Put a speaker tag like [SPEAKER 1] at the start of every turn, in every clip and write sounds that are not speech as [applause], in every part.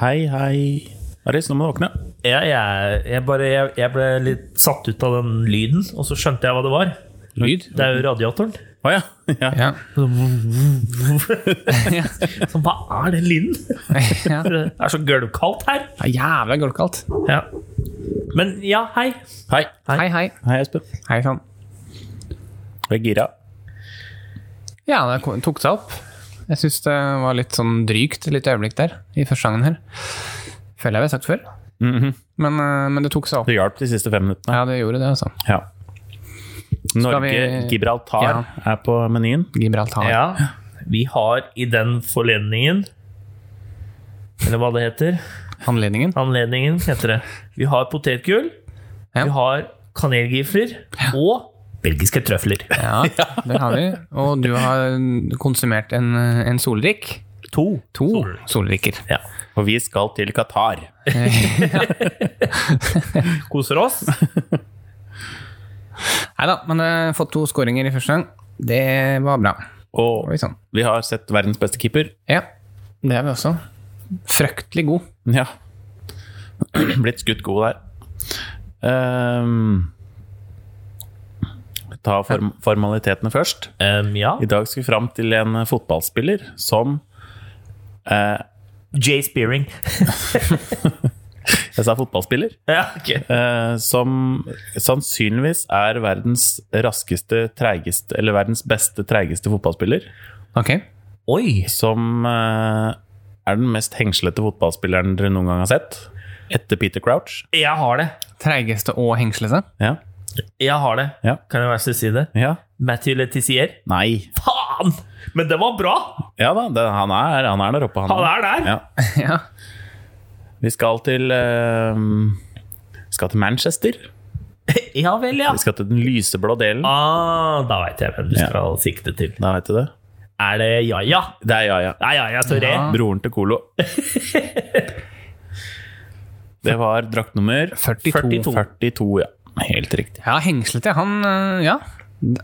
[SPEAKER 1] Hei, hei. Aris, nå må du våkne.
[SPEAKER 2] Ja, jeg, jeg, bare, jeg, jeg ble litt satt ut av den lyden, og så skjønte jeg hva det var.
[SPEAKER 1] Lyd?
[SPEAKER 2] Det er jo radiatoren.
[SPEAKER 1] Å ja. [laughs] ja.
[SPEAKER 3] [laughs] Ja.
[SPEAKER 2] Så hva er den lyden?
[SPEAKER 3] ja.
[SPEAKER 2] Det er så gulvkaldt her.
[SPEAKER 3] Det er Jævla gulvkaldt.
[SPEAKER 2] Ja. Men ja, hei.
[SPEAKER 1] Hei.
[SPEAKER 3] Hei, hei.
[SPEAKER 1] Hei, Espen.
[SPEAKER 3] Hei sann.
[SPEAKER 1] Jeg er gira.
[SPEAKER 3] Ja, det ko- tok seg opp. Jeg syns det var litt sånn drygt litt øyeblikk der, i første gangen her. Føler jeg vi har sagt før. men, eh, men det tok seg opp.
[SPEAKER 1] Det hjalp de siste fem minuttene.
[SPEAKER 3] Ja, det gjorde det, altså.
[SPEAKER 1] Ja. Norge,
[SPEAKER 3] vi-
[SPEAKER 1] Gibraltar,
[SPEAKER 3] Ja.
[SPEAKER 1] er på menyen.
[SPEAKER 3] Gibraltar.
[SPEAKER 2] Ja, vi har i den forledningen Eller hva det heter.
[SPEAKER 3] Anledningen.
[SPEAKER 2] Anledningen heter det. Vi har potetgull,
[SPEAKER 3] Ja.
[SPEAKER 2] vi har kanelgifler og belgiske trøfler.
[SPEAKER 3] [laughs] Ja, det har vi. Og du har konsumert en, en solrik.
[SPEAKER 2] To.
[SPEAKER 3] To solrikker.
[SPEAKER 2] Ja.
[SPEAKER 1] Og vi skal til Qatar.
[SPEAKER 2] Koser [laughs] oss.
[SPEAKER 3] Nei da, men eh, fått to skåringer i første gang. Det var bra.
[SPEAKER 1] Og
[SPEAKER 3] Oi sann.
[SPEAKER 1] vi har sett verdens beste keeper.
[SPEAKER 3] Ja, det er vi også. Fryktelig god.
[SPEAKER 1] Ja. [clears throat] Blitt skutt god der. Ehm, ta form formalitetene først.
[SPEAKER 2] Em, ja.
[SPEAKER 1] I dag skal vi fram til en fotballspiller som eh,
[SPEAKER 2] Jay Spearing.
[SPEAKER 1] Jeg sa fotballspiller.
[SPEAKER 2] Ja, ok.
[SPEAKER 1] eh, som sannsynligvis er verdens raskeste, treigeste Eller verdens beste, treigeste fotballspiller.
[SPEAKER 3] Ok.
[SPEAKER 2] Oi!
[SPEAKER 1] Som eh, er den mest hengslete fotballspilleren dere noen gang har sett. Etter Peter Crouch.
[SPEAKER 2] Jeg har det.
[SPEAKER 3] Treigeste og [laughs] hengslete.
[SPEAKER 1] Ja.
[SPEAKER 2] Jeg har det.
[SPEAKER 1] Ja.
[SPEAKER 2] Kan jeg være så si det?
[SPEAKER 1] ja.
[SPEAKER 2] Matthew Letizier.
[SPEAKER 1] Nei.
[SPEAKER 2] Faen! Men det var bra!
[SPEAKER 1] Ja da, det, han, er, han er der oppe, han.
[SPEAKER 2] Han er der!
[SPEAKER 1] Ja.
[SPEAKER 3] ja.
[SPEAKER 1] Vi skal til eh, skal til Manchester.
[SPEAKER 2] Ja vel, ja.
[SPEAKER 1] Vi skal til den lyseblå delen.
[SPEAKER 2] Ah, da veit jeg hvem du
[SPEAKER 1] Ja.
[SPEAKER 2] skal sikte til.
[SPEAKER 1] Da vet du det.
[SPEAKER 2] Er det Yaya?
[SPEAKER 1] Det er Yaya.
[SPEAKER 2] Det er Yaya Toré.
[SPEAKER 3] Ja.
[SPEAKER 1] Broren til
[SPEAKER 3] [laughs]
[SPEAKER 1] Colo. Det var draktnummer
[SPEAKER 3] 42.
[SPEAKER 1] 42, ja. Helt riktig.
[SPEAKER 3] Ja, hengslete. Han eh, Ja,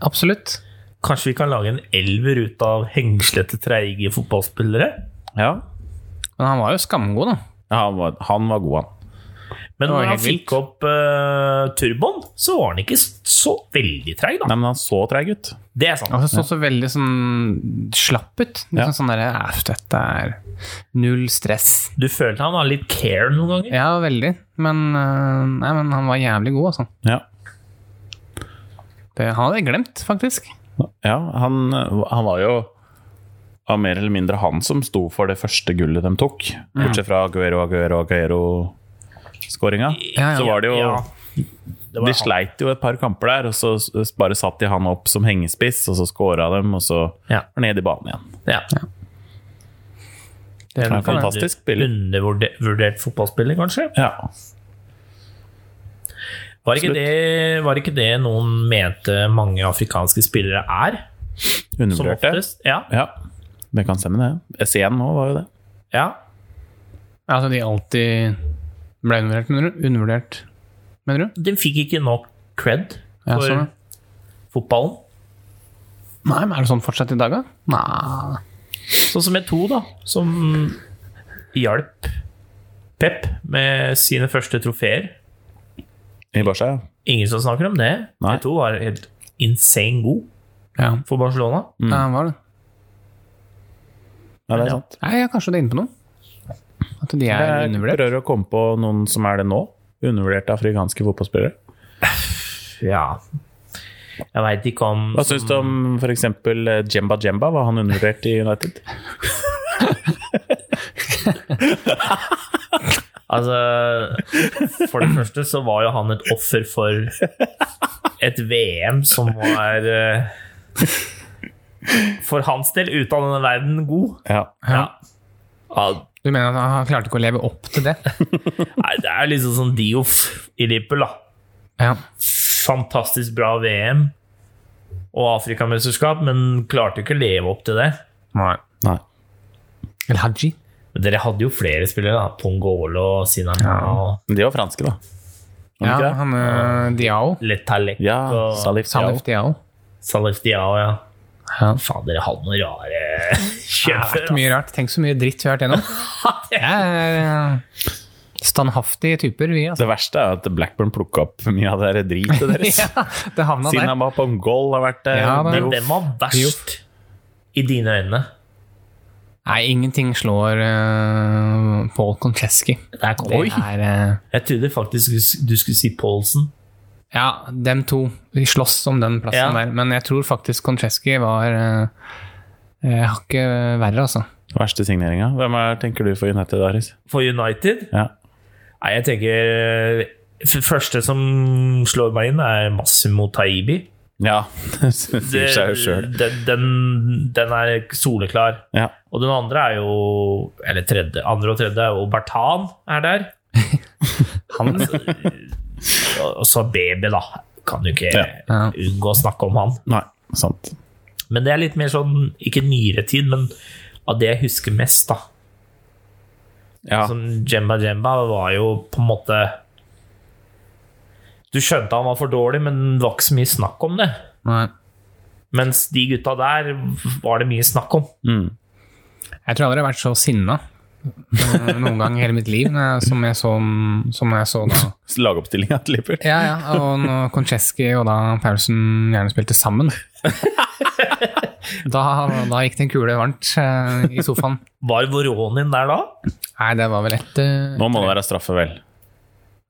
[SPEAKER 3] absolutt.
[SPEAKER 2] Kanskje vi kan lage en elver ut av hengslete, treige fotballspillere?
[SPEAKER 1] Ja,
[SPEAKER 3] Men han var jo skamgod, da.
[SPEAKER 1] Ja, han var, han var god, han.
[SPEAKER 2] Men
[SPEAKER 3] Det var
[SPEAKER 2] når han
[SPEAKER 3] helt vilt.
[SPEAKER 2] fikk opp eh, turboen, så var han ikke så veldig treig, da.
[SPEAKER 1] Nei, men han så treig ut.
[SPEAKER 2] Det er sant.
[SPEAKER 3] Han så så veldig sånn slapp ut. Liksom
[SPEAKER 1] Ja.
[SPEAKER 3] sånn derre Æh, dette er null stress.
[SPEAKER 2] Du følte han har litt care noen ganger?
[SPEAKER 3] Ja, veldig. Men, eh, nei, men han var jævlig god, altså.
[SPEAKER 1] Ja,
[SPEAKER 3] Det han hadde jeg glemt, faktisk.
[SPEAKER 1] ja han, han var jo var mer eller mindre han som sto for det første gullet de tok.
[SPEAKER 3] Mm.
[SPEAKER 1] Bortsett fra Aguero, Aguero, Aguero-skåringa.
[SPEAKER 3] Ja, ja.
[SPEAKER 1] Så var det jo
[SPEAKER 2] Det var
[SPEAKER 1] De
[SPEAKER 2] han.
[SPEAKER 1] sleit jo et par kamper der, og så s- bare satt de han opp som hengespiss, og så scora dem, og så
[SPEAKER 2] Ja.
[SPEAKER 1] var ned i banen igjen.
[SPEAKER 2] Ja.
[SPEAKER 3] Det
[SPEAKER 1] Han er
[SPEAKER 3] er
[SPEAKER 1] en fantastisk spiller.
[SPEAKER 2] Undervurdert fotballspiller, kanskje?
[SPEAKER 1] Ja.
[SPEAKER 2] Var ikke, det, var ikke det noen mente mange afrikanske spillere er? Som
[SPEAKER 1] Undervurderte.
[SPEAKER 2] oftest? Ja.
[SPEAKER 1] Ja, det kan stemme, det. S1 nå var jo det.
[SPEAKER 2] ja.
[SPEAKER 3] Altså, de alltid ble undervurdert, mener du? Undervurdert, mener du?
[SPEAKER 2] De fikk ikke nok cred
[SPEAKER 3] Ja,
[SPEAKER 2] for
[SPEAKER 3] sånn, ja.
[SPEAKER 2] fotballen.
[SPEAKER 3] Nei, men er det sånn fortsatt i dag, da? Nei.
[SPEAKER 2] Sånn som med to, da, som hjalp Pep med sine første trofeer.
[SPEAKER 1] I Barca, ja.
[SPEAKER 2] Ingen som snakker om det.
[SPEAKER 1] Nei.
[SPEAKER 2] De to var helt insane god
[SPEAKER 3] Ja, Mm.
[SPEAKER 2] for Barcelona.
[SPEAKER 3] ja var det.
[SPEAKER 1] ja det er
[SPEAKER 2] Ja.
[SPEAKER 1] sant.
[SPEAKER 3] Nei, ja, kanskje du er inne på noe? At de er
[SPEAKER 1] Jeg
[SPEAKER 3] undervurdert?
[SPEAKER 1] prøver å komme på noen som er det nå. Undervurderte afrikanske fotballspillere.
[SPEAKER 2] Ja. Jeg veit ikke
[SPEAKER 3] Altså,
[SPEAKER 2] om
[SPEAKER 1] Hva syns du om f.eks. Jemba Jemba? Var han undervurdert i United?
[SPEAKER 2] Altså, for det første så var jo han et offer for et VM som var eh, For hans del, ut av denne verden, god.
[SPEAKER 1] Ja.
[SPEAKER 2] Ja. Ja,
[SPEAKER 3] Du mener at han klarte ikke å leve opp til det?
[SPEAKER 2] nei, det er liksom sånn Dioff i Liverpool, da.
[SPEAKER 3] Ja.
[SPEAKER 2] Fantastisk bra VM og Afrikamesterskap, men klarte jo ikke å leve opp til det.
[SPEAKER 3] Nei.
[SPEAKER 1] Nei.
[SPEAKER 3] Eller Haji?
[SPEAKER 2] Men dere hadde jo flere spillere, da. Pongolo og Sinan
[SPEAKER 3] Ja.
[SPEAKER 2] og
[SPEAKER 1] Men De var franske, da.
[SPEAKER 3] Ja,
[SPEAKER 1] ikke det?
[SPEAKER 3] han uh, Diao.
[SPEAKER 2] Letalek
[SPEAKER 1] Ja,
[SPEAKER 2] og
[SPEAKER 1] Salif Diao.
[SPEAKER 3] Salif Diao.
[SPEAKER 2] Salif Diao, ja.
[SPEAKER 3] Ja.
[SPEAKER 2] Faen, dere hadde noen rare kjøp
[SPEAKER 3] Det
[SPEAKER 2] før.
[SPEAKER 3] er Mye rart. Tenk så mye dritt vi har vært gjennom. Jeg er standhaftige typer, vi. altså.
[SPEAKER 1] Det verste er at Blackburn plukka opp mye av det der
[SPEAKER 3] [laughs]
[SPEAKER 1] dritet deres.
[SPEAKER 3] Ja, det havna der.
[SPEAKER 1] Sinaba Pongol har vært eh,
[SPEAKER 3] Ja, da.
[SPEAKER 2] Men
[SPEAKER 1] jo-
[SPEAKER 2] hvem var verst i dine øyne?
[SPEAKER 3] Nei, ingenting slår eh, Paul Koncheski.
[SPEAKER 2] Der kom
[SPEAKER 3] Det
[SPEAKER 2] Oi.
[SPEAKER 3] er eh,
[SPEAKER 2] Jeg trodde faktisk du skulle- du skulle si Paulsen.
[SPEAKER 3] Ja, dem to. De slåss om den plassen
[SPEAKER 2] Ja.
[SPEAKER 3] der. Men jeg tror faktisk Koncheski var eh, eh, hakket verre, altså.
[SPEAKER 1] Verste signeringa. Hvem er, tenker du for United, Aris?
[SPEAKER 2] For United?
[SPEAKER 1] Ja.
[SPEAKER 2] Nei, jeg tenker eh, f- første som slår meg inn, er Massimo Taibi.
[SPEAKER 1] ja. [laughs] Det sier seg jo sjøl.
[SPEAKER 2] den, den, den er soleklar.
[SPEAKER 1] Ja.
[SPEAKER 2] Og den andre er jo Eller tredje. Andre og tredje er jo Bertan er der. Han Og så BB, da. Kan jo ikke
[SPEAKER 3] Ja.
[SPEAKER 2] unngå å snakke om han.
[SPEAKER 1] Nei, sant.
[SPEAKER 2] Men det er litt mer sånn, ikke nyere tid, men av det jeg husker mest, da.
[SPEAKER 1] Ja.
[SPEAKER 2] Sånn Jemba Jemba var jo på en måte Du skjønte han var for dårlig, men det var ikke så mye snakk om det.
[SPEAKER 3] Nei.
[SPEAKER 2] Mens de gutta der var det mye snakk om.
[SPEAKER 1] Mm.
[SPEAKER 3] Jeg tror jeg aldri har vært så sinna eh, noen gang i hele mitt liv når jeg- som jeg så, som jeg så da.
[SPEAKER 1] Lagoppstillinga til Liverpool.
[SPEAKER 3] Ja, ja, og når Koncheski og da Paulsen gjerne spilte sammen da, da gikk det en kule varmt eh, i sofaen.
[SPEAKER 2] Var Voronin der da?
[SPEAKER 3] Nei, det var vel et eh,
[SPEAKER 1] Nå må det være straffe, vel.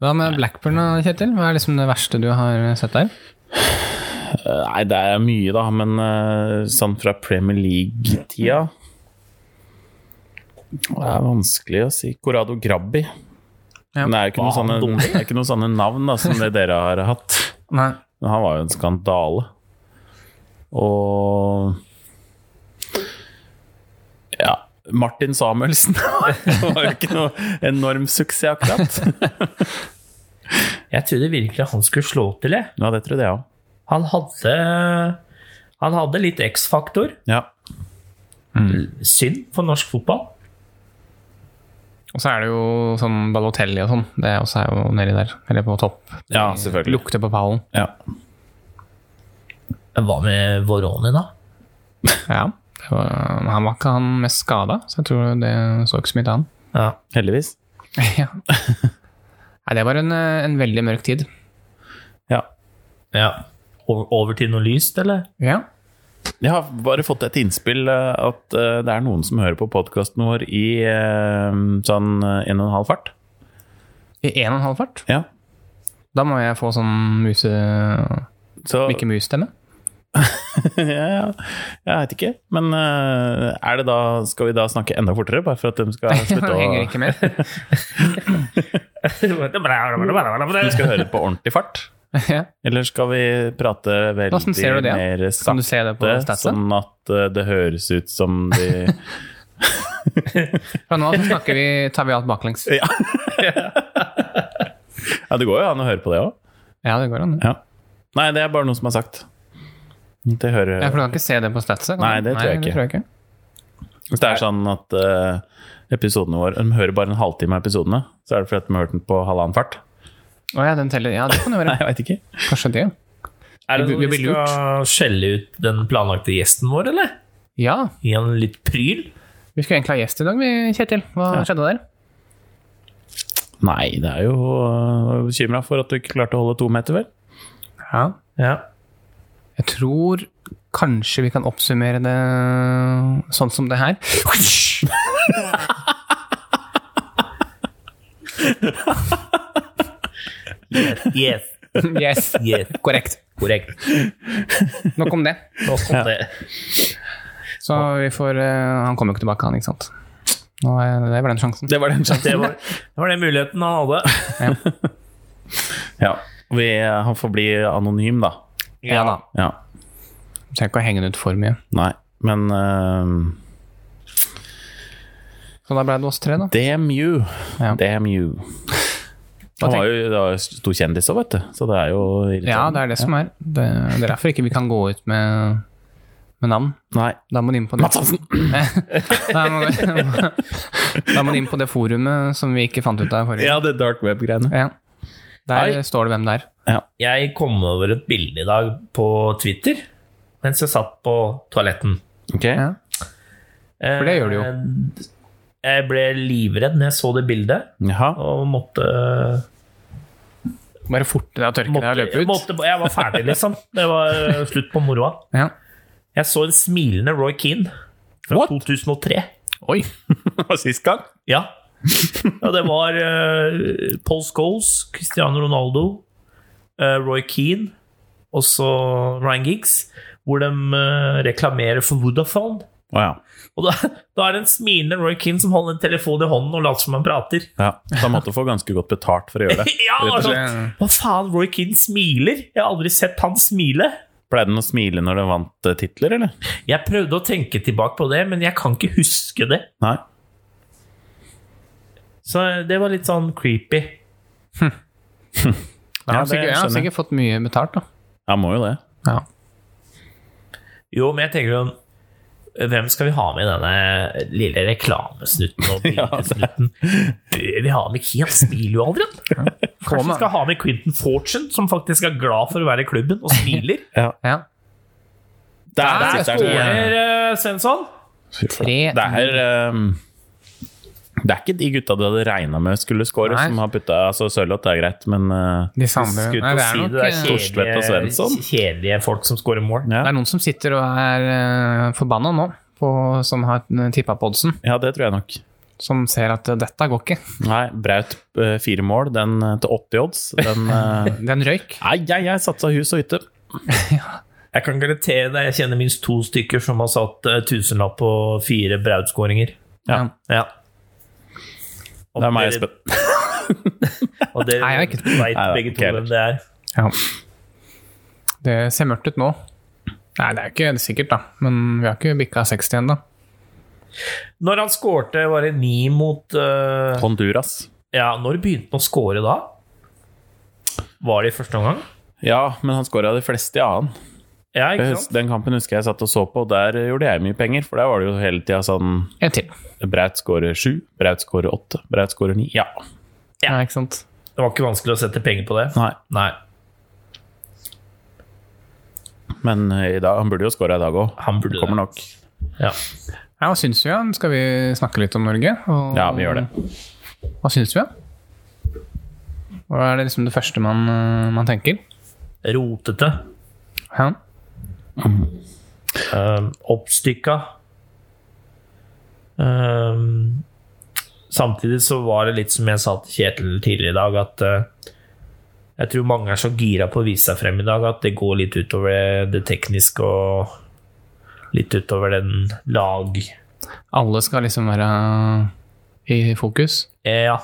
[SPEAKER 3] Hva med Blackburn, da, Kjetil? Hva er liksom det verste du har sett der?
[SPEAKER 1] Eh, Nei, det er mye, da, men eh, sånn fra Premier League-tida Det er vanskelig å si. Corrado Grabbi.
[SPEAKER 3] Ja.
[SPEAKER 1] Men det er jo ikke noen,
[SPEAKER 2] Faen,
[SPEAKER 1] sånne,
[SPEAKER 2] dårlig.
[SPEAKER 1] det er ikke noen sånne navn da, som det dere har hatt.
[SPEAKER 3] Nei.
[SPEAKER 1] Men han var jo en skandale. Og Ja. Martin Samuelsen [laughs] var jo ikke noe enorm suksess, akkurat.
[SPEAKER 2] Jeg trodde virkelig han skulle slå til, jeg.
[SPEAKER 1] Ja, det trodde jeg òg.
[SPEAKER 2] Han hadde Han hadde litt X-faktor.
[SPEAKER 1] Ja.
[SPEAKER 2] Synd for norsk fotball.
[SPEAKER 3] Og så er det jo sånn Balotelli og sånn. Det er også er jo nedi der. Eller på topp.
[SPEAKER 1] ja, selvfølgelig.
[SPEAKER 3] Lukter på pallen.
[SPEAKER 1] Ja.
[SPEAKER 2] Men Hva med Voronin, da?
[SPEAKER 3] Ja. Det var, han var ikke han mest skada, så jeg tror det så ikke så mye
[SPEAKER 1] [laughs]
[SPEAKER 3] til han.
[SPEAKER 2] Ja.
[SPEAKER 1] Heldigvis.
[SPEAKER 3] ja. Nei, det var en, eh, en veldig mørk tid.
[SPEAKER 1] Ja.
[SPEAKER 2] ja. Over, over til noe lyst, eller?
[SPEAKER 3] Ja.
[SPEAKER 1] Jeg har bare fått et innspill eh, at eh, det er noen som hører på podkasten vår i eh, sånn eh, en og en halv fart.
[SPEAKER 3] I en og en halv fart.
[SPEAKER 1] Ja.
[SPEAKER 3] Da må jeg få sånn muse...
[SPEAKER 1] Så [laughs]
[SPEAKER 3] Mikke Mus-stemme.
[SPEAKER 1] ja, ja, jeg veit ikke. Men eh, er det da, skal vi da snakke enda fortere, bare for at de
[SPEAKER 3] [laughs]
[SPEAKER 1] skal slutte å
[SPEAKER 3] Henger ikke med. [laughs]
[SPEAKER 1] Vi skal høre på ordentlig fart?
[SPEAKER 3] ja.
[SPEAKER 1] Eller skal vi prate veldig
[SPEAKER 3] Hvordan ser du det?
[SPEAKER 1] mer
[SPEAKER 3] Kan du se det på
[SPEAKER 1] sakte,
[SPEAKER 3] statsen?
[SPEAKER 1] sånn at eh, det høres ut som de
[SPEAKER 3] [laughs] Fra nå av så snakker vi, tar vi alt baklengs.
[SPEAKER 1] ja. ja, det går jo an å høre på det òg.
[SPEAKER 3] Ja, det går an. det.
[SPEAKER 1] Ja. Nei, det er bare noe som er sagt. Det hører
[SPEAKER 3] Ja, for du kan ikke se det på statset? kan
[SPEAKER 1] Nei,
[SPEAKER 3] du?
[SPEAKER 1] det tror jeg
[SPEAKER 3] Nei,
[SPEAKER 1] ikke.
[SPEAKER 3] det tror jeg ikke.
[SPEAKER 1] Hvis det er sånn at eh, episodene våre De hører bare en halvtime av episodene, så er det fordi at de har hørt den på halvannen fart.
[SPEAKER 3] Å ja, den teller. Ja, det kan det
[SPEAKER 1] [laughs] Nei, [laughs]
[SPEAKER 3] være.
[SPEAKER 1] jeg veit ikke.
[SPEAKER 3] Kanskje det.
[SPEAKER 2] Er det
[SPEAKER 3] Vi- vi
[SPEAKER 2] noe vi
[SPEAKER 3] blir
[SPEAKER 2] skal skjelle ut den planlagte gjesten vår, eller?
[SPEAKER 3] Ja,
[SPEAKER 2] Gi han litt pryl?
[SPEAKER 3] vi skulle egentlig ha gjest i dag, vi, Kjetil. Hva skjedde der?
[SPEAKER 1] Nei, det er jo uh, bekymra for at du ikke klarte å holde to meter, vel?
[SPEAKER 3] Ja.
[SPEAKER 2] Ja.
[SPEAKER 3] Jeg tror kanskje vi kan oppsummere det sånn som det her. [laughs]
[SPEAKER 2] Yes.
[SPEAKER 3] Yes,
[SPEAKER 2] Yes.
[SPEAKER 3] [laughs] korrekt.
[SPEAKER 2] Korrekt.
[SPEAKER 3] Nok om det.
[SPEAKER 2] Nå kom det.
[SPEAKER 3] Så vi får eh, Han kommer jo ikke tilbake, han, ikke sant? Nå er, det var den sjansen.
[SPEAKER 1] Det var den
[SPEAKER 2] Det
[SPEAKER 1] sjansen.
[SPEAKER 2] var, det var den muligheten han hadde.
[SPEAKER 1] [laughs] Ja. Vi, eh, han får bli anonym, da.
[SPEAKER 3] Ja da.
[SPEAKER 1] Ja.
[SPEAKER 3] Trenger ikke å henge den ut for mye.
[SPEAKER 1] Nei. Men uh,
[SPEAKER 3] Så da ble det oss tre, da.
[SPEAKER 1] damn you.
[SPEAKER 3] Ja.
[SPEAKER 1] Damn you.
[SPEAKER 3] Hva
[SPEAKER 1] Han var jo det var jo stor kjendis òg, vet du. Så det er jo irriterende.
[SPEAKER 3] Ja, det er det som er. Det, det er derfor ikke vi kan gå ut med, med navn.
[SPEAKER 1] Nei.
[SPEAKER 3] Da må du inn på det.
[SPEAKER 1] Mats Hansen!
[SPEAKER 3] [laughs] Da må, [laughs] da må du inn på det forumet som vi ikke fant ut av forrige
[SPEAKER 1] Ja, det dark web-greiene.
[SPEAKER 3] Ja. Der
[SPEAKER 1] Hei.
[SPEAKER 3] står det hvem det er.
[SPEAKER 1] Ja.
[SPEAKER 2] Jeg kom over et bilde i dag på Twitter mens jeg satt på toaletten.
[SPEAKER 1] Ok?
[SPEAKER 3] Ja. For det gjør du jo.
[SPEAKER 2] Eh, Jeg ble livredd når jeg så det bildet,
[SPEAKER 1] Jaha.
[SPEAKER 2] og måtte,
[SPEAKER 3] Bare forte deg å tørke deg og
[SPEAKER 2] måtte,
[SPEAKER 3] løpe ut.
[SPEAKER 2] måtte Jeg var ferdig, liksom. Det var eh, slutt på moroa.
[SPEAKER 3] Ja.
[SPEAKER 2] Jeg så en smilende Roy Keane fra
[SPEAKER 1] What?
[SPEAKER 2] 2003.
[SPEAKER 3] Oi.
[SPEAKER 1] Og [laughs] Sist gang?
[SPEAKER 2] Ja. ja det var eh, Paul Scholes, Cristiano Ronaldo, eh, Roy Keane og så Ryan Giggs, hvor de eh, reklamerer for Vodafone.
[SPEAKER 1] Å ja.
[SPEAKER 2] Og da, [laughs] da er det en smilende Roy Keane som holder en telefon i hånden og later som han prater. [laughs]
[SPEAKER 1] ja. Da måtte du få ganske godt betalt for å [laughs] gjøre det.
[SPEAKER 2] Ja,
[SPEAKER 1] Rett
[SPEAKER 2] det var
[SPEAKER 1] og slett.
[SPEAKER 2] sånn, Hva faen, Roy Keane smiler? Jeg har aldri sett han smile.
[SPEAKER 1] Pleide den å smile når den vant eh, titler, eller?
[SPEAKER 2] Jeg prøvde å tenke tilbake på det, men jeg kan ikke huske det.
[SPEAKER 1] Nei.
[SPEAKER 2] Så det var litt sånn creepy.
[SPEAKER 3] Jeg
[SPEAKER 1] det
[SPEAKER 3] har sikkert, jeg har
[SPEAKER 1] skjønner jeg.
[SPEAKER 3] sikkert fått mye betalt, da.
[SPEAKER 1] Ja, må jo det.
[SPEAKER 3] Ja.
[SPEAKER 2] Jo, men jeg tenker sånn Hvem skal vi ha med i denne lille reklamesnutten
[SPEAKER 1] [laughs]
[SPEAKER 2] og bildesnutten? Bør vi ha med Kian smiler jo aldri. han. Kanskje vi
[SPEAKER 3] med.
[SPEAKER 2] skal ha med Quentin Fortune, som faktisk er glad for å være i klubben og
[SPEAKER 1] [laughs]
[SPEAKER 2] smiler.
[SPEAKER 3] ja.
[SPEAKER 1] Der,
[SPEAKER 3] Der
[SPEAKER 1] sitter
[SPEAKER 3] står
[SPEAKER 1] den igjen.
[SPEAKER 2] Eller eh, Svensson?
[SPEAKER 3] Tre
[SPEAKER 1] Det er ehm, Det er ikke de gutta du hadde regna med skulle score,
[SPEAKER 3] Nei.
[SPEAKER 1] som har putta altså, Sørloth er greit, men eh,
[SPEAKER 3] De samme
[SPEAKER 1] Skulle
[SPEAKER 3] Nei,
[SPEAKER 1] til
[SPEAKER 3] det
[SPEAKER 1] å
[SPEAKER 3] er
[SPEAKER 1] si
[SPEAKER 3] nok
[SPEAKER 2] Det
[SPEAKER 1] kjedelig. Storslett
[SPEAKER 2] er
[SPEAKER 3] eh,
[SPEAKER 1] og
[SPEAKER 2] kjedelige,
[SPEAKER 1] Svensson.
[SPEAKER 2] kjedelige folk som scorer mål.
[SPEAKER 1] ja.
[SPEAKER 3] Det er noen som sitter og er uh, forbanna nå, på, som har tippa på oddsen.
[SPEAKER 1] ja, det tror jeg nok.
[SPEAKER 3] Som ser at eh, dette går ikke.
[SPEAKER 1] Nei, Braut eh, fire mål, den eh, til 80 odds. Den [laughs] eh,
[SPEAKER 3] Den røyk.
[SPEAKER 1] Nei, jeg, jeg satsa hus og hytte.
[SPEAKER 2] Jeg kan garantere deg, jeg kjenner minst to stykker som har satt eh, tusenlapp på fire brautskåringer.
[SPEAKER 1] Ja.
[SPEAKER 2] Ja.
[SPEAKER 1] Det er meg,
[SPEAKER 2] Dere-
[SPEAKER 1] Espen.
[SPEAKER 2] Og dere
[SPEAKER 3] Nei, jeg har
[SPEAKER 2] vet
[SPEAKER 3] ikke-
[SPEAKER 1] Nei,
[SPEAKER 2] begge
[SPEAKER 1] ikke
[SPEAKER 2] to
[SPEAKER 1] heller.
[SPEAKER 2] hvem det er.
[SPEAKER 3] Ja. Det ser mørkt ut nå. Nei, det er ikke sikkert, da. Men vi har ikke bikka 60 ennå.
[SPEAKER 2] Når han skårte, var det ni mot eh,
[SPEAKER 1] Honduras.
[SPEAKER 2] Ja, når begynte han å skåre da? Var det i første omgang?
[SPEAKER 1] Ja, men han scora de fleste i annen.
[SPEAKER 2] Ja,
[SPEAKER 1] Jeg
[SPEAKER 2] ikke
[SPEAKER 1] hus-
[SPEAKER 2] sant?
[SPEAKER 1] Den kampen husker jeg satt og så på, og der eh, gjorde jeg mye penger. For der var det jo hele tida sånn
[SPEAKER 3] En til.
[SPEAKER 1] Braut scorer sju, Braut scorer åtte, Braut scorer ni. Ja.
[SPEAKER 2] Ja.
[SPEAKER 3] Ja. ikke sant?
[SPEAKER 2] Det var ikke vanskelig å sette penger på det.
[SPEAKER 1] Nei.
[SPEAKER 2] Nei.
[SPEAKER 1] Men eh, i dag, han burde jo scora i dag òg.
[SPEAKER 2] Han burde
[SPEAKER 1] Kommer
[SPEAKER 2] det.
[SPEAKER 1] nok.
[SPEAKER 2] Ja.
[SPEAKER 3] Ja, hva syns vi? da? Skal vi snakke litt om Norge? Og,
[SPEAKER 1] Ja, vi gjør det.
[SPEAKER 3] Hva syns vi? da? Hva er det liksom det første man, eh, man tenker?
[SPEAKER 2] Rotete.
[SPEAKER 3] Ja.
[SPEAKER 2] Um, oppstykka. Ehm, samtidig så var det litt som jeg sa til Kjetil tidligere i dag, at eh, jeg tror mange er så gira på å vise seg frem i dag at det går litt utover det, det tekniske og litt utover den lag...
[SPEAKER 3] Alle skal liksom være i fokus.
[SPEAKER 2] Eh, ja.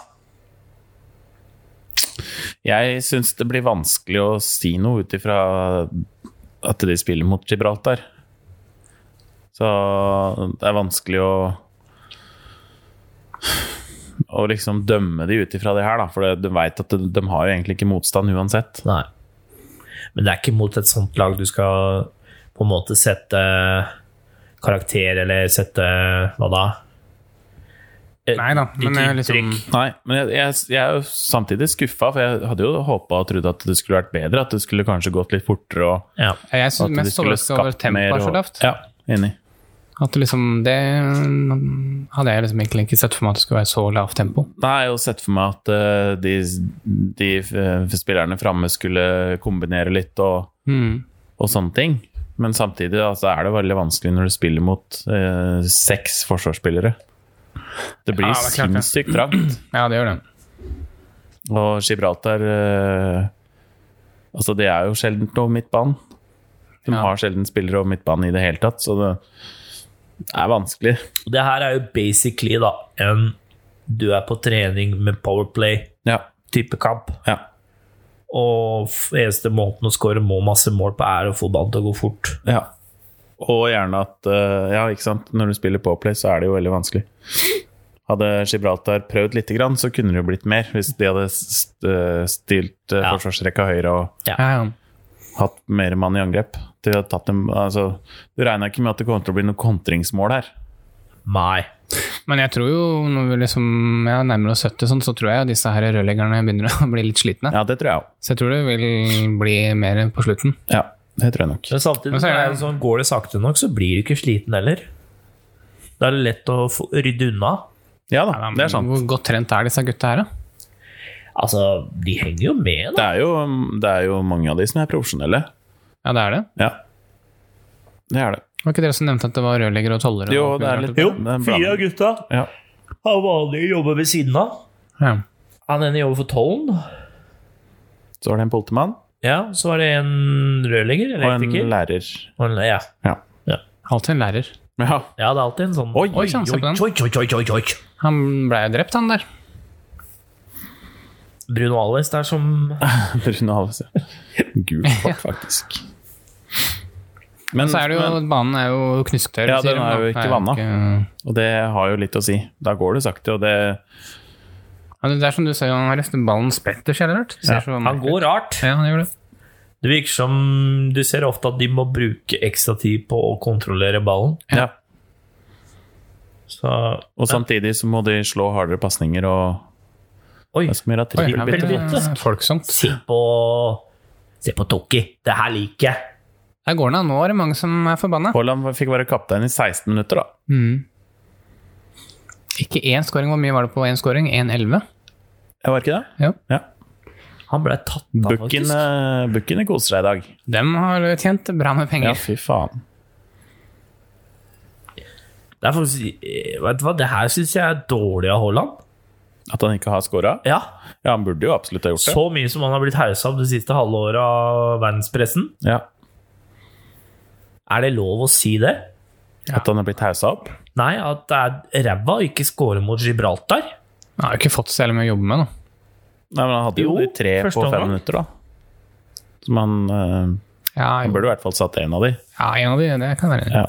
[SPEAKER 1] Jeg syns det blir vanskelig å si noe ut ifra at de spiller mot Gibraltar. Så det er vanskelig å å liksom dømme de ut ifra det her, da. For det- du veit at de, de har jo egentlig ikke motstand uansett.
[SPEAKER 2] Nei. Men det er ikke mot et sånt lag du skal på en måte sette karakter, eller sette hva da? Eh,
[SPEAKER 3] Nei da,
[SPEAKER 2] ditt
[SPEAKER 3] men jeg er
[SPEAKER 2] inntrykk.
[SPEAKER 3] liksom
[SPEAKER 1] Nei, men jeg, jeg, jeg er jo samtidig skuffa, for jeg hadde jo håpa og trodd at det skulle vært bedre. At det skulle kanskje gått litt fortere, og
[SPEAKER 2] Ja.
[SPEAKER 3] Jeg
[SPEAKER 1] at
[SPEAKER 3] syns
[SPEAKER 1] de
[SPEAKER 3] mest
[SPEAKER 1] skulle
[SPEAKER 3] overraska over tempoet er så
[SPEAKER 1] og-
[SPEAKER 3] lavt.
[SPEAKER 1] Ja, enig.
[SPEAKER 3] At det liksom det hadde jeg liksom egentlig ikke sett for meg at det skulle være så lavt tempo.
[SPEAKER 1] Da har jeg jo sett for meg at eh, de, de eh, spillerne framme skulle kombinere litt og,
[SPEAKER 3] Mm.
[SPEAKER 1] og sånne ting. Men samtidig altså, er det veldig vanskelig når du spiller mot eh, seks forsvarsspillere. Det blir
[SPEAKER 3] Ja, det er klart det.
[SPEAKER 1] sinnssykt trangt.
[SPEAKER 3] Ja, det gjør det.
[SPEAKER 1] Og Gibraltar eh, Altså, det er jo sjelden over midtbanen. De
[SPEAKER 3] Ja.
[SPEAKER 1] har sjelden spillere over midtbanen i det hele tatt, så det er vanskelig.
[SPEAKER 2] Og Det her er jo basically da en du er på trening med powerplay-type
[SPEAKER 1] Ja.
[SPEAKER 2] kamp,
[SPEAKER 1] ja.
[SPEAKER 2] og f- eneste måten å skåre må masse mål på, er å få ballen til å gå fort.
[SPEAKER 1] Ja. Og gjerne at eh, Ja, ikke sant. Når du spiller Powerplay, så er det jo veldig vanskelig. Hadde Gibraltar prøvd lite grann, så kunne det jo blitt mer. Hvis de hadde st eh, stilt eh,
[SPEAKER 2] Ja.
[SPEAKER 1] forsvarsrekka høyre og
[SPEAKER 3] Ja, ja.
[SPEAKER 1] hatt mer mann i angrep. De hadde tatt dem, altså, du regna ikke med at det kom til å bli noe kontringsmål her.
[SPEAKER 2] Nei.
[SPEAKER 3] Men jeg tror jo, når vi liksom ja, nærmer oss 70, sånn, så tror jeg disse her [laughs] rørleggerne begynner å bli litt slitne.
[SPEAKER 1] Ja, det tror jeg òg.
[SPEAKER 3] Så jeg tror det vil bli mer på slutten.
[SPEAKER 1] Ja. Det tror jeg nok.
[SPEAKER 2] Men samtidig
[SPEAKER 3] Men så er
[SPEAKER 2] er
[SPEAKER 3] det-
[SPEAKER 2] det sånn, går det sakte nok, så blir du ikke sliten heller. Da er det lett å få, rydde unna.
[SPEAKER 1] Ja da,
[SPEAKER 3] Ja, men
[SPEAKER 1] det er sant.
[SPEAKER 3] Hvor godt trent er disse gutta her, da?
[SPEAKER 2] Altså, de henger jo med,
[SPEAKER 1] Det
[SPEAKER 2] da.
[SPEAKER 1] er, jo, det er jo mange av de som er profesjonelle.
[SPEAKER 3] Ja, det er det.
[SPEAKER 1] Ja. Det er det.
[SPEAKER 3] Var ikke dere som nevnte at det var rørleggere og tollere? og
[SPEAKER 1] Jo,
[SPEAKER 3] alt
[SPEAKER 1] det er
[SPEAKER 3] mulig
[SPEAKER 1] litt
[SPEAKER 3] rart?
[SPEAKER 2] Jo,
[SPEAKER 1] det er en
[SPEAKER 2] fire av
[SPEAKER 1] blanding.
[SPEAKER 2] gutta
[SPEAKER 1] Ja.
[SPEAKER 2] har vanlige jobber ved siden av.
[SPEAKER 3] Ja.
[SPEAKER 2] Han ene jobber for tollen.
[SPEAKER 1] Så var det en politimann
[SPEAKER 2] Ja, så var det en rørlegger,
[SPEAKER 1] og en
[SPEAKER 2] elektriker.
[SPEAKER 1] lærer.
[SPEAKER 2] Og en, ja.
[SPEAKER 1] Ja.
[SPEAKER 3] Alltid en lærer.
[SPEAKER 1] ja. [laughs]
[SPEAKER 2] ja, det er alltid en sånn
[SPEAKER 1] Oi,
[SPEAKER 3] Oi, sann, se på den.
[SPEAKER 2] oi, oi, oi, oi, oi.
[SPEAKER 3] Han ble jo drept, han der.
[SPEAKER 2] Bruno Alves der som
[SPEAKER 1] Bruno Alves, ja. Gult kort, faktisk. Men,
[SPEAKER 3] Så er det jo,
[SPEAKER 1] men,
[SPEAKER 3] banen er jo knusktørr.
[SPEAKER 1] Ja,
[SPEAKER 3] sier
[SPEAKER 1] den
[SPEAKER 3] de,
[SPEAKER 1] er jo
[SPEAKER 3] da.
[SPEAKER 1] ikke
[SPEAKER 3] Det
[SPEAKER 1] vanna.
[SPEAKER 3] ikke-
[SPEAKER 1] og det har jo litt å si. Da går det sakte, og det
[SPEAKER 3] Ja, det er som du sier, han har løftet ballen spetters, eller rart. Det ser så
[SPEAKER 2] Han
[SPEAKER 3] merkelig ut.
[SPEAKER 2] går rart.
[SPEAKER 3] Ja, han gjør det.
[SPEAKER 2] Det virker som du ser ofte at de må bruke ekstra tid på å kontrollere ballen.
[SPEAKER 1] Ja.
[SPEAKER 2] Så
[SPEAKER 1] Og samtidig så må de slå hardere pasninger og
[SPEAKER 2] Oi,
[SPEAKER 1] Det er som gjør at
[SPEAKER 3] Oi,
[SPEAKER 1] trippel
[SPEAKER 3] her ble
[SPEAKER 1] bytter.
[SPEAKER 3] det
[SPEAKER 2] Trippelbytte.
[SPEAKER 3] eh, folksomt.
[SPEAKER 2] se på Se på Toki. Det her liker jeg.
[SPEAKER 3] Der går det an. Nå er det mange som er forbanna.
[SPEAKER 1] Haaland fikk være kaptein i 16 minutter, da.
[SPEAKER 3] Mm. Ikke én scoring. Hvor mye var det på én scoring? 1-11?
[SPEAKER 1] Jeg var ikke det?
[SPEAKER 3] Ja.
[SPEAKER 1] Ja.
[SPEAKER 2] Han ble tatt av, faktisk.
[SPEAKER 1] Bukken, eh, Bukken koser seg i dag.
[SPEAKER 3] Dem har tjent bra med
[SPEAKER 1] Ja,
[SPEAKER 2] Mm.
[SPEAKER 3] penger.
[SPEAKER 1] fy faen.
[SPEAKER 2] Det er faktisk, eh, vet du hva, det her syns jeg er dårlig av Haaland.
[SPEAKER 1] At han ikke har scora?
[SPEAKER 2] Ja,
[SPEAKER 1] Ja, han burde jo absolutt ha gjort det.
[SPEAKER 2] Så mye som han har blitt haussa opp det siste halve året av verdenspressen.
[SPEAKER 1] Ja.
[SPEAKER 2] Er det lov å si det?
[SPEAKER 1] At han er blitt haussa opp?
[SPEAKER 2] Nei, at det er ræva å ikke score mot Gibraltar.
[SPEAKER 3] Han har jo ikke fått så jævlig mye å jobbe med, da.
[SPEAKER 1] Nei, men han hadde jo,
[SPEAKER 2] Jo,
[SPEAKER 1] de tre
[SPEAKER 2] første
[SPEAKER 1] på fem
[SPEAKER 2] omgang.
[SPEAKER 1] minutter, da. Som han eh,
[SPEAKER 3] Ja,
[SPEAKER 1] Han
[SPEAKER 3] jo.
[SPEAKER 1] burde i hvert fall satt en av de.
[SPEAKER 3] ja en av de, det kan være.
[SPEAKER 1] Ja.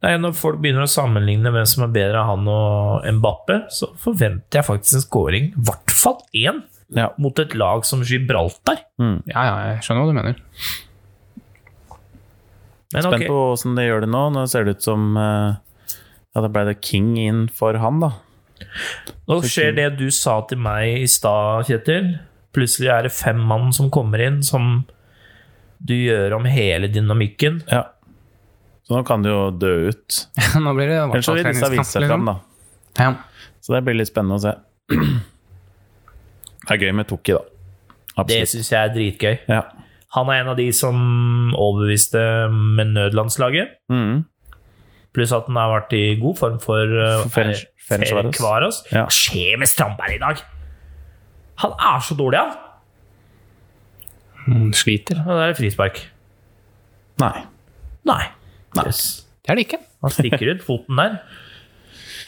[SPEAKER 2] Nei, når folk begynner å sammenligne hvem som er bedre av han og Mbappe, så forventer jeg faktisk en scoring. I hvert fall én
[SPEAKER 1] Ja.
[SPEAKER 2] mot et lag som Gibraltar.
[SPEAKER 1] Mm.
[SPEAKER 3] Ja, ja, jeg skjønner hva du mener.
[SPEAKER 2] Men
[SPEAKER 1] Spent
[SPEAKER 2] ok,
[SPEAKER 1] på åssen de gjør det nå. Nå ser det ut som eh, Ja, da ble det King inn for han, da.
[SPEAKER 2] nå skjer det du sa til meg i stad, Kjetil. Plutselig er det fem mann som kommer inn, som du gjør om hele dynamikken.
[SPEAKER 1] Ja. Så nå kan det jo dø ut.
[SPEAKER 3] [laughs] Nå blir det i hvert
[SPEAKER 1] Ellers så
[SPEAKER 3] fall
[SPEAKER 1] vil disse
[SPEAKER 3] treningskamp,
[SPEAKER 1] vise seg fram,
[SPEAKER 3] liksom.
[SPEAKER 1] da.
[SPEAKER 3] Ja.
[SPEAKER 1] Så det blir litt spennende å se. [clears throat] Det er gøy med Toki, da.
[SPEAKER 2] Det
[SPEAKER 1] Absolutt.
[SPEAKER 2] syns jeg er dritgøy.
[SPEAKER 1] Ja.
[SPEAKER 2] Han er en av de som overbeviste med nødlandslaget.
[SPEAKER 1] Mm.
[SPEAKER 2] Pluss at han har vært i god form for uh,
[SPEAKER 1] For Ferenc-
[SPEAKER 2] er-
[SPEAKER 1] Ferencvaros.
[SPEAKER 2] Ferencvaros.
[SPEAKER 1] Ja.
[SPEAKER 2] Hva skjer med Strandberg i dag? Han er så dårlig, han!
[SPEAKER 3] Mm, Sliter.
[SPEAKER 2] Og Det er frispark.
[SPEAKER 1] Nei.
[SPEAKER 2] Nei.
[SPEAKER 1] Nei.
[SPEAKER 2] Yes.
[SPEAKER 3] Det er det ikke.
[SPEAKER 2] Han stikker ut foten der.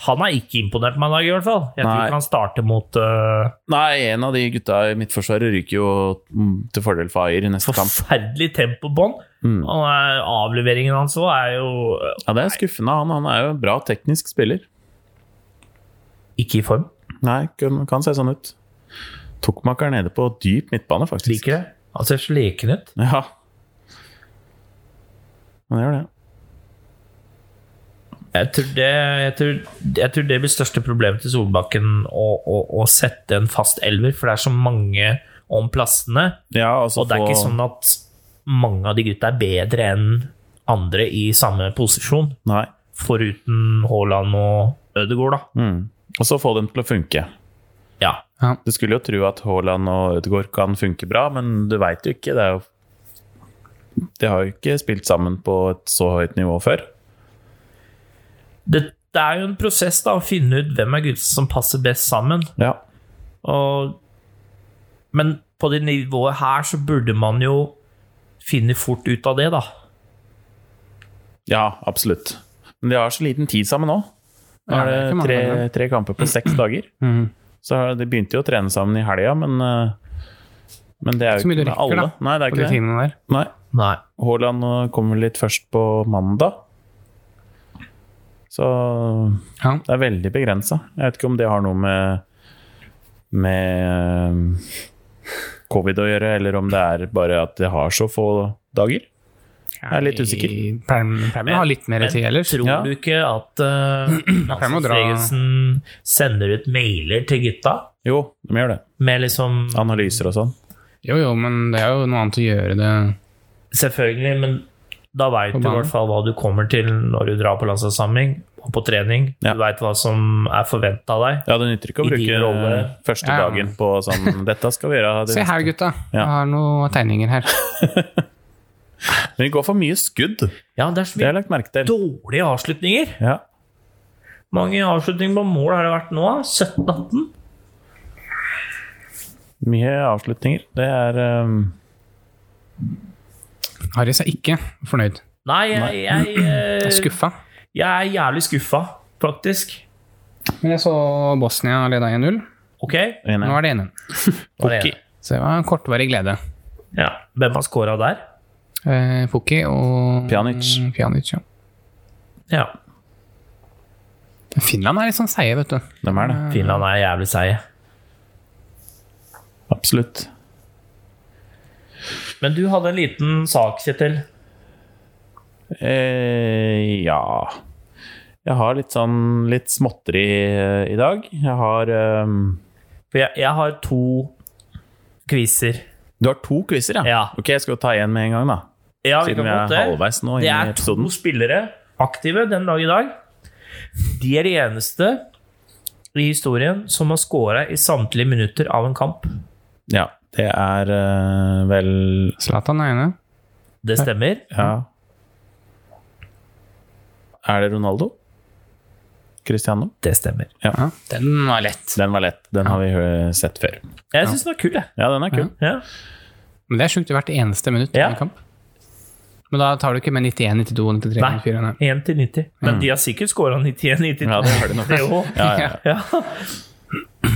[SPEAKER 2] Han har ikke imponert meg i dag, i hvert fall. Jeg tror
[SPEAKER 1] Nei.
[SPEAKER 2] ikke han starter mot uh,
[SPEAKER 1] Nei, en av de gutta i midtforsvaret ryker jo mm, til fordel for Ayer i neste kamp.
[SPEAKER 2] forferdelig tempobånd.
[SPEAKER 1] Mm.
[SPEAKER 2] Han er- Avleveringen hans òg er jo uh,
[SPEAKER 1] Ja, det er skuffende. Han, han er jo en bra teknisk spiller.
[SPEAKER 2] ikke i form.
[SPEAKER 1] Nei, kan, kan se sånn ut. Tokmak er nede på dyp midtbane, faktisk.
[SPEAKER 2] Liker det. Han ser sleken ut.
[SPEAKER 1] Ja. Han gjør det.
[SPEAKER 2] Jeg tror, det, jeg, tror, jeg tror det blir største problemet til Solbakken å, å, å sette en fast elver, for det er så mange om plassene.
[SPEAKER 1] Ja, altså
[SPEAKER 2] Og det er
[SPEAKER 1] få-
[SPEAKER 2] ikke sånn at mange av de gutta er bedre enn andre i samme posisjon,
[SPEAKER 1] Nei.
[SPEAKER 2] foruten Haaland og Ødegaard, da.
[SPEAKER 1] Mm. Og så få dem til å funke.
[SPEAKER 2] Ja.
[SPEAKER 1] Du skulle jo tro at Haaland og Ødegaard kan funke bra, men du veit jo ikke. Det er jo De har jo ikke spilt sammen på et så høyt nivå før.
[SPEAKER 2] Det, det er jo en prosess da, å finne ut hvem er gutta som passer best sammen.
[SPEAKER 1] Ja.
[SPEAKER 2] Og, men på det nivået her så burde man jo finne fort ut av det, da.
[SPEAKER 1] ja, absolutt. Men de har så liten tid sammen nå. Nå
[SPEAKER 3] Ja,
[SPEAKER 1] er
[SPEAKER 3] det er ikke
[SPEAKER 1] det
[SPEAKER 3] mange
[SPEAKER 1] tre,
[SPEAKER 3] ganger.
[SPEAKER 1] tre kamper på seks dager.
[SPEAKER 3] [clears throat] Mhm.
[SPEAKER 1] Så har- de begynte jo å trene sammen i helga, men eh, Men det er
[SPEAKER 3] Så
[SPEAKER 1] jo
[SPEAKER 3] mye
[SPEAKER 1] ikke
[SPEAKER 3] du
[SPEAKER 1] med
[SPEAKER 3] rekker,
[SPEAKER 1] alle.
[SPEAKER 3] da.
[SPEAKER 1] Nei, det er
[SPEAKER 3] På de
[SPEAKER 1] ikke det.
[SPEAKER 3] timene der.
[SPEAKER 1] Nei.
[SPEAKER 2] Nei.
[SPEAKER 1] Haaland eh, kommer litt først på mandag. Så
[SPEAKER 3] Ja.
[SPEAKER 1] det er veldig begrensa. Jeg vet ikke om det har noe med med eh, covid å gjøre, eller om det er bare at det har så få dager. Jeg er litt usikker.
[SPEAKER 3] Premier har litt mer
[SPEAKER 2] Men
[SPEAKER 3] tid ellers.
[SPEAKER 2] Tror
[SPEAKER 1] Ja.
[SPEAKER 2] du ikke at uh,
[SPEAKER 3] [clears throat] Jeg må
[SPEAKER 2] Hansen
[SPEAKER 3] dra.
[SPEAKER 2] Fregesen sender ut mailer til gutta
[SPEAKER 1] Jo, de gjør det.
[SPEAKER 2] med liksom
[SPEAKER 1] Analyser og sånn.
[SPEAKER 3] Jo, jo, men det er jo noe annet å gjøre det
[SPEAKER 2] Selvfølgelig, men da veit
[SPEAKER 3] På
[SPEAKER 2] du i
[SPEAKER 3] banen.
[SPEAKER 2] hvert fall hva du kommer til når du drar på landslagssamling og på trening.
[SPEAKER 1] Ja.
[SPEAKER 2] Du veit hva som er forventa av deg.
[SPEAKER 1] Ja, det nytter ikke å
[SPEAKER 2] I
[SPEAKER 1] bruke
[SPEAKER 2] din rolle.
[SPEAKER 1] første
[SPEAKER 3] Ja.
[SPEAKER 1] dagen på sånn Dette skal vi gjøre.
[SPEAKER 3] [laughs] Se her, gutta. Jeg har noen tegninger her.
[SPEAKER 1] Men vi går for mye skudd. Det
[SPEAKER 2] Ja, det er så
[SPEAKER 1] har jeg
[SPEAKER 2] mye
[SPEAKER 1] lagt merke til.
[SPEAKER 2] dårlige avslutninger.
[SPEAKER 1] Ja.
[SPEAKER 2] mange avslutninger på mål har det vært nå? 17-18?
[SPEAKER 1] Mye avslutninger. Det er ehm,
[SPEAKER 3] Harris er ikke fornøyd.
[SPEAKER 2] Nei, jeg, jeg, eh,
[SPEAKER 3] [clears throat] Jeg er skuffa.
[SPEAKER 2] jeg er jævlig skuffa, faktisk.
[SPEAKER 3] Men jeg så Bosnia leda 1-0.
[SPEAKER 2] Ok?
[SPEAKER 1] en-
[SPEAKER 3] Nå er det 1-1.
[SPEAKER 2] Hva er det?
[SPEAKER 3] Så det var en kortvarig glede.
[SPEAKER 2] Ja. Hvem har scora der?
[SPEAKER 3] Eh, Pukki og eh,
[SPEAKER 1] Pjanic.
[SPEAKER 3] Pjanic, ja.
[SPEAKER 2] Ja.
[SPEAKER 3] Finland er litt sånn seige, vet du.
[SPEAKER 1] Dem er det.
[SPEAKER 2] Finland er jævlig seige.
[SPEAKER 1] Absolutt.
[SPEAKER 2] Men du hadde en liten sak, Kjetil.
[SPEAKER 1] Eh, ja Jeg har litt sånn litt småtteri eh, i dag. Jeg har ehm,
[SPEAKER 2] For jeg, jeg har to quizer.
[SPEAKER 1] Du har to quizer, ja?
[SPEAKER 2] Ja.
[SPEAKER 1] Ok, jeg skal jo ta én med en gang, da.
[SPEAKER 2] Ja, vi
[SPEAKER 1] Siden
[SPEAKER 2] kan
[SPEAKER 1] vi er
[SPEAKER 2] godt det.
[SPEAKER 1] halvveis nå
[SPEAKER 2] Det
[SPEAKER 1] inn i
[SPEAKER 2] er to
[SPEAKER 1] episoden.
[SPEAKER 2] spillere aktive den dag i dag. De er de eneste i historien som har scora i samtlige minutter av en kamp.
[SPEAKER 1] Ja. Det er eh, vel
[SPEAKER 3] Zlatan er ene.
[SPEAKER 2] Det stemmer.
[SPEAKER 1] Ja. Er det Ronaldo? Cristiano?
[SPEAKER 2] Det stemmer.
[SPEAKER 3] Ja, den var lett.
[SPEAKER 1] Den var lett. Den har vi hø- sett før.
[SPEAKER 2] Jeg syns den var kul, jeg.
[SPEAKER 1] Ja, den er kul.
[SPEAKER 2] Ja.
[SPEAKER 3] Men det er sjukt i hvert eneste minutt i
[SPEAKER 2] Ja.
[SPEAKER 3] en kamp. Men da tar du ikke med 91, 92, 93,
[SPEAKER 2] Nei.
[SPEAKER 3] 94 nei.
[SPEAKER 2] 1 til 90. Men
[SPEAKER 1] Mm.
[SPEAKER 2] de har sikkert scora [laughs] 91-92.
[SPEAKER 1] Ja, det har de nok. Ja, ja, ja.
[SPEAKER 2] Ja.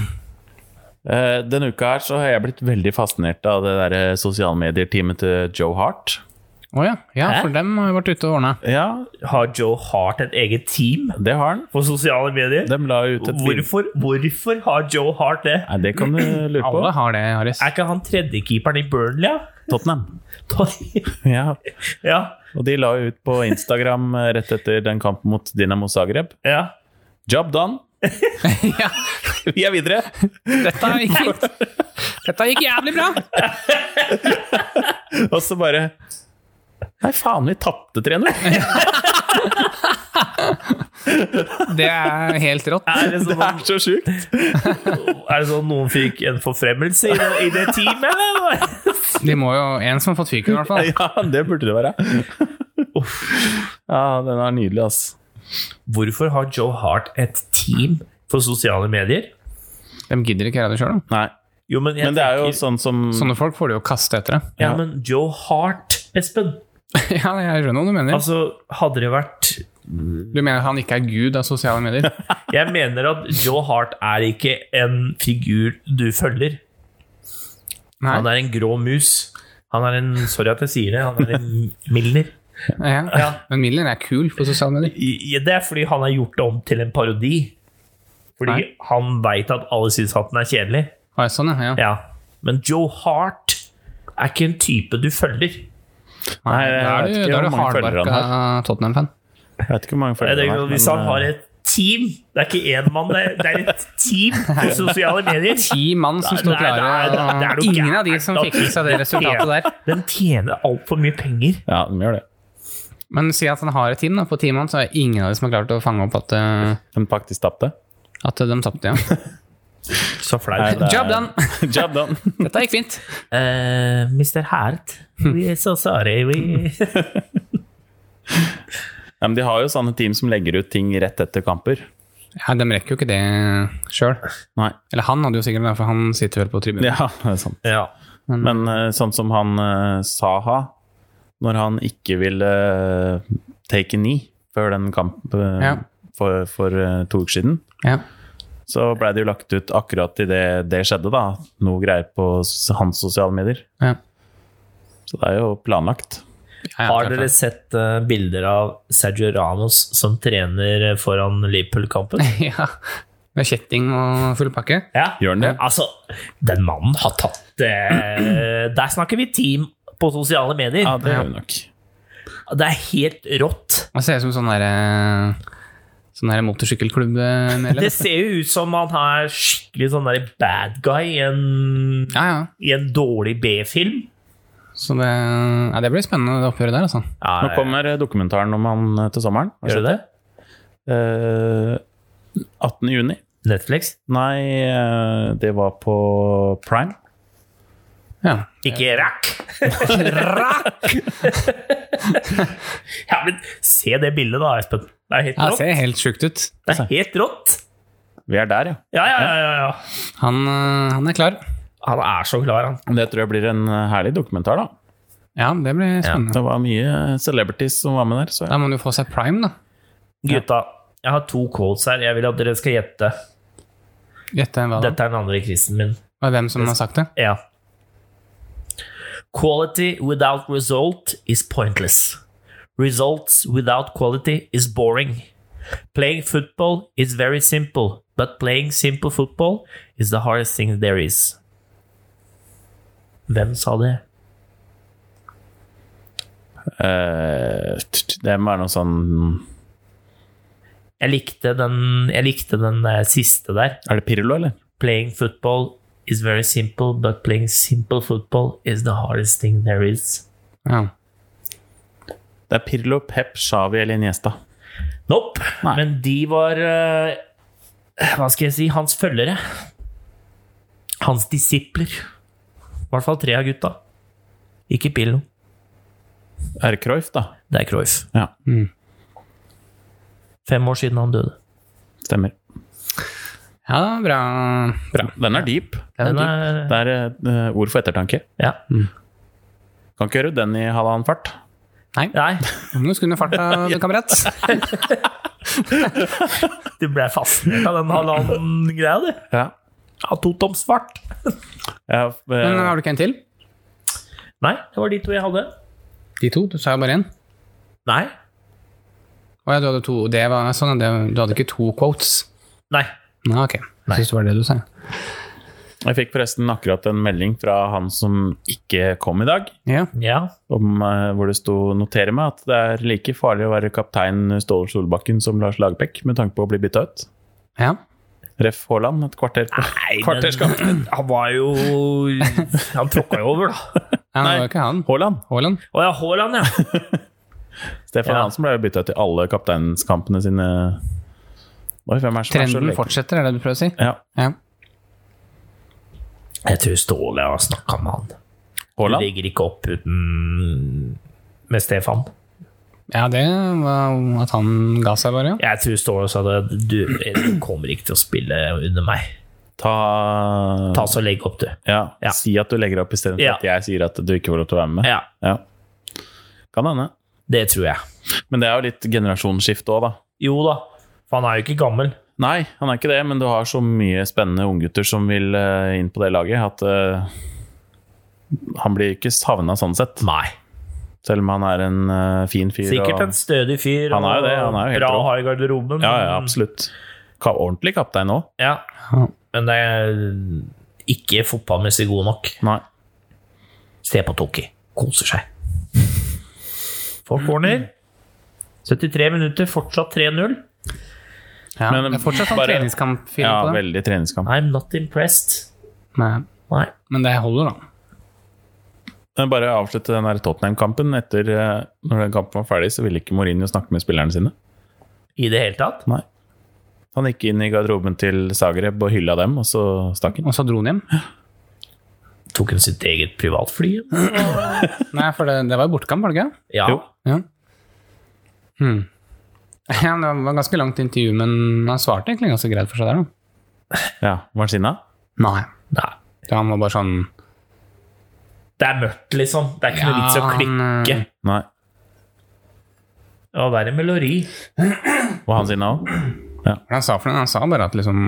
[SPEAKER 1] Eh, Denne uka her så har jeg blitt veldig fascinert av det der sosialmedier-teamet til Joe Hart.
[SPEAKER 3] [laughs] Å ja. ja,
[SPEAKER 2] Hæ?
[SPEAKER 3] for dem har jo vært ute og ordna.
[SPEAKER 1] Ja,
[SPEAKER 2] Har Joe Hart et eget team
[SPEAKER 1] det har han.
[SPEAKER 2] på sosiale medier?
[SPEAKER 1] De la ut et bilde
[SPEAKER 2] Hvorfor, hvorfor har Joe Hart det?
[SPEAKER 1] Nei, Det kan du lure på.
[SPEAKER 3] Alle har det, Harris.
[SPEAKER 2] Er ikke han tredjekeeperen i Burnley, ja?
[SPEAKER 1] Tottenham.
[SPEAKER 2] Da-
[SPEAKER 1] Ja,
[SPEAKER 2] [laughs] ja?
[SPEAKER 1] Og de la jo ut på Instagram eh, rett etter den kampen mot Dinamo Zagreb.
[SPEAKER 2] Ja.
[SPEAKER 1] Job done!
[SPEAKER 3] [laughs] ja,
[SPEAKER 1] Vi er videre!
[SPEAKER 3] dette gikk fint. Dette gikk jævlig bra!
[SPEAKER 1] Og så bare Nei, faen, vi tapte 3-0!
[SPEAKER 3] Det er helt rått.
[SPEAKER 2] Er det
[SPEAKER 1] Det
[SPEAKER 2] sånn,
[SPEAKER 1] er så sjukt!
[SPEAKER 2] er det sånn noen fikk en forfremmelse i det, i det teamet, eller?
[SPEAKER 3] De må jo En som har fått fyken, i hvert fall.
[SPEAKER 1] Ja, det burde det være. Ja, den er nydelig, ass.
[SPEAKER 2] Hvorfor har Joe Hart et team for sosiale medier?
[SPEAKER 3] De gidder ikke gjøre det sjøl, da.
[SPEAKER 1] Nei.
[SPEAKER 2] Jo, men, jeg
[SPEAKER 1] Men det er jo
[SPEAKER 2] tenker-
[SPEAKER 1] sånn som
[SPEAKER 3] Sånne folk får de jo kaste etter det.
[SPEAKER 2] Ja, men Joe Hart, Espen.
[SPEAKER 3] [laughs] Ja, jeg skjønner hva du mener.
[SPEAKER 2] Altså, hadde det vært
[SPEAKER 3] Du mener han ikke er gud av sosiale
[SPEAKER 1] [laughs]
[SPEAKER 3] medier?
[SPEAKER 2] Jeg mener at Joe Hart er ikke en figur du følger.
[SPEAKER 3] Nei.
[SPEAKER 2] Han er en grå mus. Han er en Sorry at jeg sier det, han er en Milner.
[SPEAKER 3] Ja. Men Milner er kul på sosiale medier.
[SPEAKER 2] I- Det er fordi han har gjort det om til en parodi. Fordi
[SPEAKER 3] Nei.
[SPEAKER 2] han veit at alle syns at den er kjedelig.
[SPEAKER 3] Ah, sånn, ja. ja.
[SPEAKER 2] Ja. Men Joe Hart er ikke en type du følger.
[SPEAKER 3] Nei,
[SPEAKER 1] Nei, jeg
[SPEAKER 3] da er
[SPEAKER 1] vet
[SPEAKER 3] du,
[SPEAKER 1] ikke
[SPEAKER 3] da er
[SPEAKER 1] hvor
[SPEAKER 3] du
[SPEAKER 1] mange følgere han
[SPEAKER 3] hardbarka Tottenham-fan.
[SPEAKER 1] Jeg vet ikke hvor mange
[SPEAKER 2] Det
[SPEAKER 1] følgere
[SPEAKER 2] er,
[SPEAKER 1] han har,
[SPEAKER 2] hvis
[SPEAKER 1] men,
[SPEAKER 2] han har
[SPEAKER 1] eh,
[SPEAKER 2] et team Det er ikke én mann, det er- det er et team [laughs] på sosiale medier.
[SPEAKER 3] Ti mann som står
[SPEAKER 2] Nei, nei, nei,
[SPEAKER 3] klare,
[SPEAKER 2] det er
[SPEAKER 3] og
[SPEAKER 2] noe
[SPEAKER 3] ingen av de
[SPEAKER 2] gærent,
[SPEAKER 3] som
[SPEAKER 2] da.
[SPEAKER 3] fikk med seg det resultatet der.
[SPEAKER 2] Den tjener altfor mye penger.
[SPEAKER 1] Ja, de gjør det.
[SPEAKER 3] Men si at han har et team, da. På ti mann så er ingen av de som har klart å fange opp at, eh,
[SPEAKER 1] De faktisk [laughs] tapte.
[SPEAKER 3] at de tapte igjen.
[SPEAKER 2] Så
[SPEAKER 1] Nei,
[SPEAKER 2] flaut.
[SPEAKER 1] det er-
[SPEAKER 3] Job done! [laughs]
[SPEAKER 1] Job done!
[SPEAKER 3] Dette gikk fint.
[SPEAKER 2] Eh, Mr. Hart, we are so sorry. We...
[SPEAKER 1] Ja, men de har jo sånne team som legger ut ting rett etter kamper.
[SPEAKER 3] Ja, de rekker jo ikke det sjøl.
[SPEAKER 1] Nei.
[SPEAKER 3] Eller han hadde jo sikkert det, for han sitter vel på tribunen.
[SPEAKER 1] Ja, [laughs] det er sant.
[SPEAKER 2] [laughs] Ja.
[SPEAKER 1] Men eh, sånn som han eh, Saha, når han ikke ville eh, take a knee før den kampen
[SPEAKER 3] Ja.
[SPEAKER 1] for, for eh, to uker siden,
[SPEAKER 3] Ja.
[SPEAKER 1] så blei det jo lagt ut akkurat idet det skjedde, da. Noe greier på s- hans sosiale medier.
[SPEAKER 3] Ja.
[SPEAKER 1] Så det er jo planlagt.
[SPEAKER 3] Ja,
[SPEAKER 2] Har
[SPEAKER 3] klart
[SPEAKER 2] dere
[SPEAKER 3] det.
[SPEAKER 2] sett eh, bilder av Sergio Ramos som trener foran Liverpool-kampen?
[SPEAKER 3] [laughs] Ja. Med kjetting og full pakke.
[SPEAKER 2] Ja.
[SPEAKER 1] Gjør han det?
[SPEAKER 2] Altså, den mannen har tatt
[SPEAKER 1] [clears throat]
[SPEAKER 2] eh, Der snakker vi team på sosiale medier.
[SPEAKER 1] Ja, det gjør vi nok.
[SPEAKER 2] Det er helt rått.
[SPEAKER 3] Han ser ut som sånn derre Sånn her motorsykkelklubb-medlem.
[SPEAKER 2] Det ser jo ut som han er skikkelig sånn der bad guy i en,
[SPEAKER 3] Ja, ja.
[SPEAKER 2] i en dårlig B-film.
[SPEAKER 3] Så det, ja, det blir spennende, det oppgjøret der, altså.
[SPEAKER 2] Ja,
[SPEAKER 1] Nå kommer dokumentaren om han eh, til sommeren. Har du
[SPEAKER 2] Gjør du det?
[SPEAKER 1] sett det? Eh, 18. juni.
[SPEAKER 2] Netflix?
[SPEAKER 1] Nei, eh, det var på Prime.
[SPEAKER 3] Ja.
[SPEAKER 2] Ikke rakk! [laughs] rakk! ja, men se det bildet, da, Espen. Det er helt
[SPEAKER 3] ja altså. det
[SPEAKER 2] rått.
[SPEAKER 3] ser helt sjukt ut.
[SPEAKER 2] Det er helt rått.
[SPEAKER 1] Vi er der, ja.
[SPEAKER 2] Ja, ja, ja, ja, ja.
[SPEAKER 3] Han, øh, han er klar.
[SPEAKER 2] Han er så klar, han.
[SPEAKER 1] Det tror jeg blir en eh, herlig dokumentar, da.
[SPEAKER 3] Ja, det blir spennende.
[SPEAKER 1] Det var mye celebrities som var med der. Så
[SPEAKER 3] Da må han jo få seg prime, da.
[SPEAKER 2] Gutta, jeg har to quotes her. Jeg vil at dere skal gjette.
[SPEAKER 3] Gjette hva da?
[SPEAKER 2] Dette er den andre krisen min.
[SPEAKER 3] Og hvem som har sagt det?
[SPEAKER 2] Ja. Quality without result is pointless. Results without quality is boring. Playing football is very simple, but playing simple football is the hardest thing there is. Hvem sa det?
[SPEAKER 1] eh, t- t- det må være noe sånn
[SPEAKER 2] Jeg likte den, jeg likte den eh, siste der.
[SPEAKER 1] Er det Pirlo, eller?
[SPEAKER 2] Playing football is very simple, but playing simple football is the hardest thing there is.
[SPEAKER 3] Ja.
[SPEAKER 1] Det er Pirlo, Pep, Shawi eller Iniesta.
[SPEAKER 2] Nope.
[SPEAKER 1] Nei.
[SPEAKER 2] Men de var eh, Hva skal jeg si? Hans følgere. Hans disipler. I hvert fall tre av gutta. Ikke Pillo.
[SPEAKER 1] Er det Cruyff, da?
[SPEAKER 2] Det er Cruyff.
[SPEAKER 1] Ja,
[SPEAKER 2] Fem år siden han døde.
[SPEAKER 1] stemmer.
[SPEAKER 3] ja, bra.
[SPEAKER 1] Bra. Den er Mm. deep.
[SPEAKER 2] Den
[SPEAKER 3] dyp.
[SPEAKER 2] er,
[SPEAKER 1] Det er eh, ord for ettertanke.
[SPEAKER 2] ja.
[SPEAKER 1] Kan ikke gjøre den i halvannen fart.
[SPEAKER 3] Nei,
[SPEAKER 2] Nei,
[SPEAKER 3] nå skulle du
[SPEAKER 1] [laughs]
[SPEAKER 3] farta, du, kamerat.
[SPEAKER 2] du ble fascinert av den halvannen greia, du.
[SPEAKER 1] Ja.
[SPEAKER 2] Av to toms fart.
[SPEAKER 1] Jeg,
[SPEAKER 3] Men
[SPEAKER 1] eh,
[SPEAKER 3] har du ikke en til?
[SPEAKER 2] Nei, det var de to jeg hadde.
[SPEAKER 3] De to? Du sa jo bare én.
[SPEAKER 2] Nei.
[SPEAKER 3] Å ja, du hadde to. Det var sånn, det, du hadde ikke to quotes?
[SPEAKER 2] Nei.
[SPEAKER 3] Nei, ok. Jeg syns det var det du sa.
[SPEAKER 1] jeg fikk forresten akkurat en melding fra han som ikke kom i dag,
[SPEAKER 3] Ja.
[SPEAKER 2] Ja.
[SPEAKER 1] om, eh, hvor det sto 'notere meg at det er like farlig å være kaptein Ståle Solbakken som Lars Lagerbäck med tanke på å bli bytta ut'.
[SPEAKER 3] ja.
[SPEAKER 1] Ref. Haaland et kvarter på
[SPEAKER 2] Nei, men-
[SPEAKER 1] Kvarterskap.
[SPEAKER 2] [clears throat] Han var jo Han tråkka jo over, da.
[SPEAKER 3] ja det
[SPEAKER 1] Nei.
[SPEAKER 3] var jo ikke han.
[SPEAKER 1] Haaland!
[SPEAKER 3] Haaland.
[SPEAKER 2] Å ja, Haaland, ja.
[SPEAKER 1] Stefan
[SPEAKER 2] Ja.
[SPEAKER 1] Hansen ble bytta ut i alle kapteinskampene sine. Oi, hvem er det som er så
[SPEAKER 3] Trenden
[SPEAKER 1] leken?
[SPEAKER 3] fortsetter, er det du prøver å si?
[SPEAKER 1] Ja.
[SPEAKER 3] Ja.
[SPEAKER 2] Jeg tror Ståle har snakka med han. Du
[SPEAKER 1] Haaland?
[SPEAKER 2] legger ikke opp uten med Stefan.
[SPEAKER 3] ja, det var at han ga seg, bare.
[SPEAKER 2] Jeg tror Ståle sa det. Du, du kommer ikke til å spille under meg.
[SPEAKER 1] Ta,
[SPEAKER 2] Ta så Legg opp, du.
[SPEAKER 1] Ja.
[SPEAKER 2] Ja.
[SPEAKER 1] Si at du legger opp istedenfor
[SPEAKER 2] Ja.
[SPEAKER 1] for at jeg sier at du ikke får lov til å være med.
[SPEAKER 2] Ja,
[SPEAKER 1] Ja. Kan hende.
[SPEAKER 2] det tror jeg.
[SPEAKER 1] Men det er jo litt generasjonsskifte òg, da.
[SPEAKER 2] Jo da, for han er jo ikke gammel.
[SPEAKER 1] Nei, han er ikke det, men du har så mye spennende unggutter som vil eh, inn på det laget, at eh, han blir ikke savna sånn sett.
[SPEAKER 2] Nei.
[SPEAKER 1] Selv om han er en eh, fin fyr.
[SPEAKER 2] Sikkert
[SPEAKER 1] og-
[SPEAKER 2] en stødig fyr.
[SPEAKER 1] Han er jo
[SPEAKER 2] og
[SPEAKER 1] det, han er jo helt
[SPEAKER 2] bra
[SPEAKER 1] rå.
[SPEAKER 2] å ha i garderoben.
[SPEAKER 1] Ja, ja, absolutt. Ka ordentlig kaptein òg.
[SPEAKER 2] Ja,
[SPEAKER 3] Ja.
[SPEAKER 2] men det er ikke fotballmessig god nok.
[SPEAKER 1] Nei.
[SPEAKER 2] Se på Toki. Koser seg. Folk corner. 73 minutter, fortsatt 3-0.
[SPEAKER 3] Ja,
[SPEAKER 1] Men
[SPEAKER 3] det er fortsatt sånn
[SPEAKER 1] bare-
[SPEAKER 3] treningskampfilm
[SPEAKER 1] Ja,
[SPEAKER 3] på det.
[SPEAKER 1] veldig treningskamp.
[SPEAKER 2] I'm not impressed.
[SPEAKER 3] Nei,
[SPEAKER 2] Nei.
[SPEAKER 3] men det holder, da.
[SPEAKER 1] Men bare avslutte den der Tottenham-kampen. Etter eh, Når den kampen var ferdig, så ville ikke Mourinho snakke med spillerne sine.
[SPEAKER 2] I det hele tatt?
[SPEAKER 1] Nei. Han gikk inn i garderoben til Zagreb og hylla dem, og så stakk han.
[SPEAKER 3] Og så dro han hjem.
[SPEAKER 2] Tok hun sitt eget privatfly?
[SPEAKER 3] Nei, for det, det var jo bortkamp, var det ikke?
[SPEAKER 2] Ja.
[SPEAKER 1] Jo.
[SPEAKER 3] Ja. Hmm. Ja, det var ganske langt intervju, men han svarte egentlig ganske greit for seg der, da.
[SPEAKER 1] Ja, Var han sinna?
[SPEAKER 3] Nei.
[SPEAKER 2] Nei.
[SPEAKER 3] Så han var bare sånn
[SPEAKER 2] Det er mørkt, liksom. Det er ikke noe
[SPEAKER 3] Ja,
[SPEAKER 2] vits i å
[SPEAKER 3] han,
[SPEAKER 2] klikke.
[SPEAKER 1] Nei.
[SPEAKER 2] Det var verre med Lori.
[SPEAKER 1] Var han sinna òg?
[SPEAKER 3] Hva han sa for noe? Han sa bare at liksom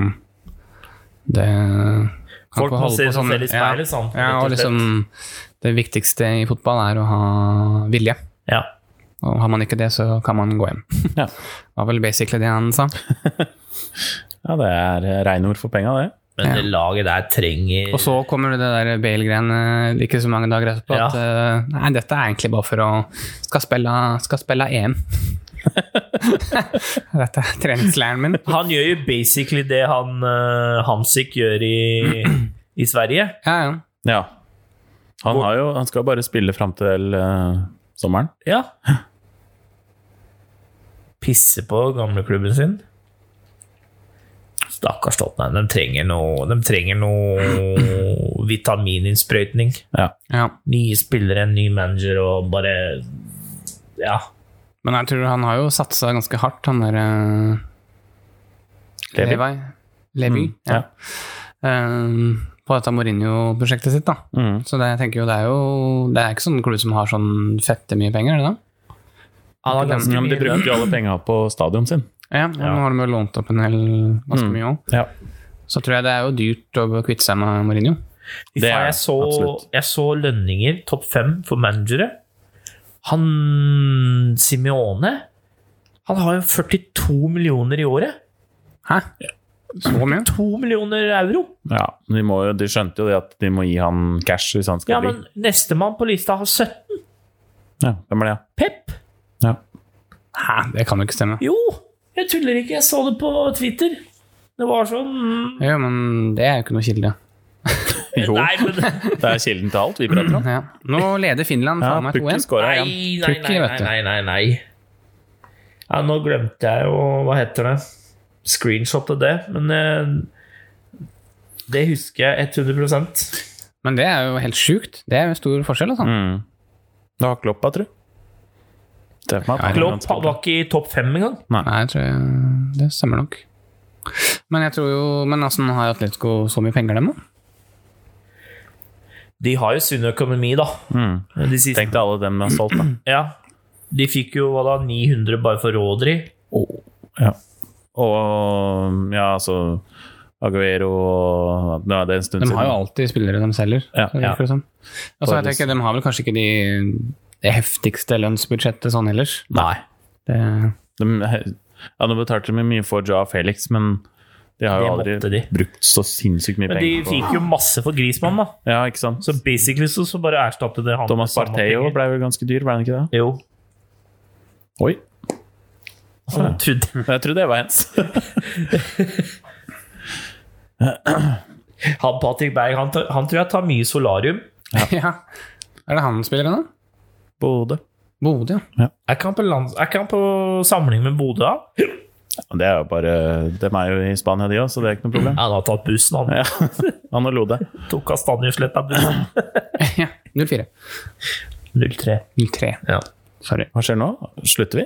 [SPEAKER 3] Det kan
[SPEAKER 2] Folk
[SPEAKER 3] ikke
[SPEAKER 2] må
[SPEAKER 3] holde
[SPEAKER 2] se
[SPEAKER 3] på sånn-
[SPEAKER 2] seg selv i
[SPEAKER 3] ja,
[SPEAKER 2] speilet, sa han,
[SPEAKER 3] ja,
[SPEAKER 2] rett og
[SPEAKER 3] og liksom Det viktigste i fotball er å ha vilje.
[SPEAKER 2] Ja.
[SPEAKER 3] Og har man ikke det, så kan man gå hjem.
[SPEAKER 1] Ja.
[SPEAKER 3] [laughs] Det var vel basically det han sa.
[SPEAKER 1] ja, det er eh, reinord for penga, det.
[SPEAKER 2] Men det laget der trenger
[SPEAKER 3] Og så kommer det der Bale-greiene eh, ikke så mange dager etterpå.
[SPEAKER 1] [laughs]
[SPEAKER 2] Ja.
[SPEAKER 3] At eh, nei, dette er egentlig bare for å Skal spille, skal spille EM. Dette er treningsleiren min.
[SPEAKER 2] Han gjør jo basically det han eh, Hamsik gjør i, i Sverige.
[SPEAKER 3] Ja, ja.
[SPEAKER 1] Ja. Han, har jo, han skal bare spille fram til eh, sommeren.
[SPEAKER 2] Ja. Pisse på gamleklubben sin. Stakkars Tottenham. De trenger noe, de trenger noe vitamininnsprøytning.
[SPEAKER 1] Ja.
[SPEAKER 3] ja.
[SPEAKER 2] Nye spillere, ny manager og bare Ja.
[SPEAKER 3] Men jeg tror han har jo satsa ganske hardt, han der eh,
[SPEAKER 1] Levi.
[SPEAKER 3] Levi. Levi,
[SPEAKER 1] Mm,
[SPEAKER 3] ja. Eh, på dette Mourinho-prosjektet sitt, da.
[SPEAKER 1] Mm.
[SPEAKER 3] Så det, jeg tenker jo, det er jo Det er ikke sånn klubb som har sånn fette mye penger, er det da?
[SPEAKER 2] Han har ganske
[SPEAKER 1] Ja, men de
[SPEAKER 2] mye lønn.
[SPEAKER 1] brukte jo alle penga på stadion sin.
[SPEAKER 3] Ja, ja. Nå har de jo lånt opp en hel ganske
[SPEAKER 1] Mm.
[SPEAKER 3] mye òg.
[SPEAKER 1] Ja.
[SPEAKER 3] Så tror jeg det er jo dyrt å kvitte seg med Mourinho.
[SPEAKER 2] Fy
[SPEAKER 1] Det er
[SPEAKER 2] faen,
[SPEAKER 1] det,
[SPEAKER 2] jeg, så,
[SPEAKER 1] absolutt.
[SPEAKER 2] jeg så lønninger, topp fem for managere. Han Simione Han har jo 42 millioner i året.
[SPEAKER 3] Hæ? Så mye?
[SPEAKER 2] To millioner euro!
[SPEAKER 1] Ja, de, må jo, de skjønte jo det at de må gi han cash hvis han skal
[SPEAKER 2] Ja,
[SPEAKER 1] bli.
[SPEAKER 2] men nestemann på lista har 17.
[SPEAKER 1] Ja, hvem er det?
[SPEAKER 2] Pep!
[SPEAKER 1] Ja.
[SPEAKER 3] Hæ, det kan jo ikke stemme.
[SPEAKER 2] Jo! Jeg tuller ikke, jeg så det på Twitter. Det var sånn mm,
[SPEAKER 3] Jo, men det er jo ikke noe kilde.
[SPEAKER 1] Jo,
[SPEAKER 2] Nei, men
[SPEAKER 1] [laughs] det er kilden til alt vi prater om.
[SPEAKER 3] Ja. Nå leder Finland
[SPEAKER 1] Ja,
[SPEAKER 3] faen meg
[SPEAKER 1] Pukki
[SPEAKER 3] 2-1.
[SPEAKER 1] skåra
[SPEAKER 2] Nei,
[SPEAKER 1] igjen.
[SPEAKER 2] nei,
[SPEAKER 3] Pukki,
[SPEAKER 2] nei,
[SPEAKER 3] vet
[SPEAKER 2] nei,
[SPEAKER 3] du.
[SPEAKER 2] nei, nei, nei. Ja, nå glemte jeg jo Hva heter det? Screenshotet det, men eh, det husker jeg 100
[SPEAKER 3] Men det er jo helt sjukt. Det er jo en stor forskjell, altså.
[SPEAKER 1] Mm. Det har Kloppa, tror jeg. Se for meg at han
[SPEAKER 2] Klopp
[SPEAKER 1] kan spille.
[SPEAKER 2] var ikke i topp fem engang.
[SPEAKER 3] Nei, jeg tror jeg, det stemmer nok. Men jeg tror jo Men åssen har Atletico så mye penger, dem, da?
[SPEAKER 2] De har jo sunn økonomi, da.
[SPEAKER 1] Mm.
[SPEAKER 2] De, siste,
[SPEAKER 1] Tenk deg alle dem de har solgt, da.
[SPEAKER 2] ja. de fikk jo hva da, 900 bare for Rodri.
[SPEAKER 1] Ja. Og ja, altså Aguero og Nå er det en stund
[SPEAKER 3] De
[SPEAKER 1] siden.
[SPEAKER 3] har jo alltid spillere de selger.
[SPEAKER 1] Ja,
[SPEAKER 3] det virker det som. Og så vet jeg ikke, de har vel kanskje ikke de, det heftigste lønnsbudsjettet sånn ellers.
[SPEAKER 1] Nei.
[SPEAKER 3] Det,
[SPEAKER 1] De, ja, nå betalte de mye for Ja Felix, men de har jo
[SPEAKER 2] Det
[SPEAKER 1] aldri
[SPEAKER 2] måtte de.
[SPEAKER 1] brukt så sinnssykt mye
[SPEAKER 2] Men de
[SPEAKER 1] penger. på-
[SPEAKER 2] fikk jo masse for Grismann, da.
[SPEAKER 1] Ja, ikke sant?
[SPEAKER 2] Så basically så, så bare erstattet det han
[SPEAKER 1] Thomas
[SPEAKER 2] med samme
[SPEAKER 1] Parteo
[SPEAKER 2] penger.
[SPEAKER 1] ble vel ganske dyr, ble han ikke det?
[SPEAKER 2] Jo.
[SPEAKER 1] Oi.
[SPEAKER 2] Han trodde,
[SPEAKER 1] Jeg tror det var hens.
[SPEAKER 2] [laughs] han Patrick Berg han, tar- han tror jeg tar mye solarium.
[SPEAKER 3] [laughs] ja. Er det han spiller ennå?
[SPEAKER 1] Bodø.
[SPEAKER 3] Bodø, ja. [laughs]
[SPEAKER 2] Er ikke han på, lands, er ikke han på samling med Bodø, da?
[SPEAKER 1] Det er jo bare De er jo i Spania, de òg, så det er ikke noe problem.
[SPEAKER 2] Han har tatt bussen,
[SPEAKER 1] [laughs]
[SPEAKER 2] han.
[SPEAKER 1] Ja. Han og Lode.
[SPEAKER 2] Tok [clears throat] Kastanjesletta-bussen.
[SPEAKER 3] ja. 04.
[SPEAKER 2] 03.
[SPEAKER 3] 03.
[SPEAKER 2] Ja.
[SPEAKER 3] Sorry.
[SPEAKER 1] Hva skjer nå? Slutter vi?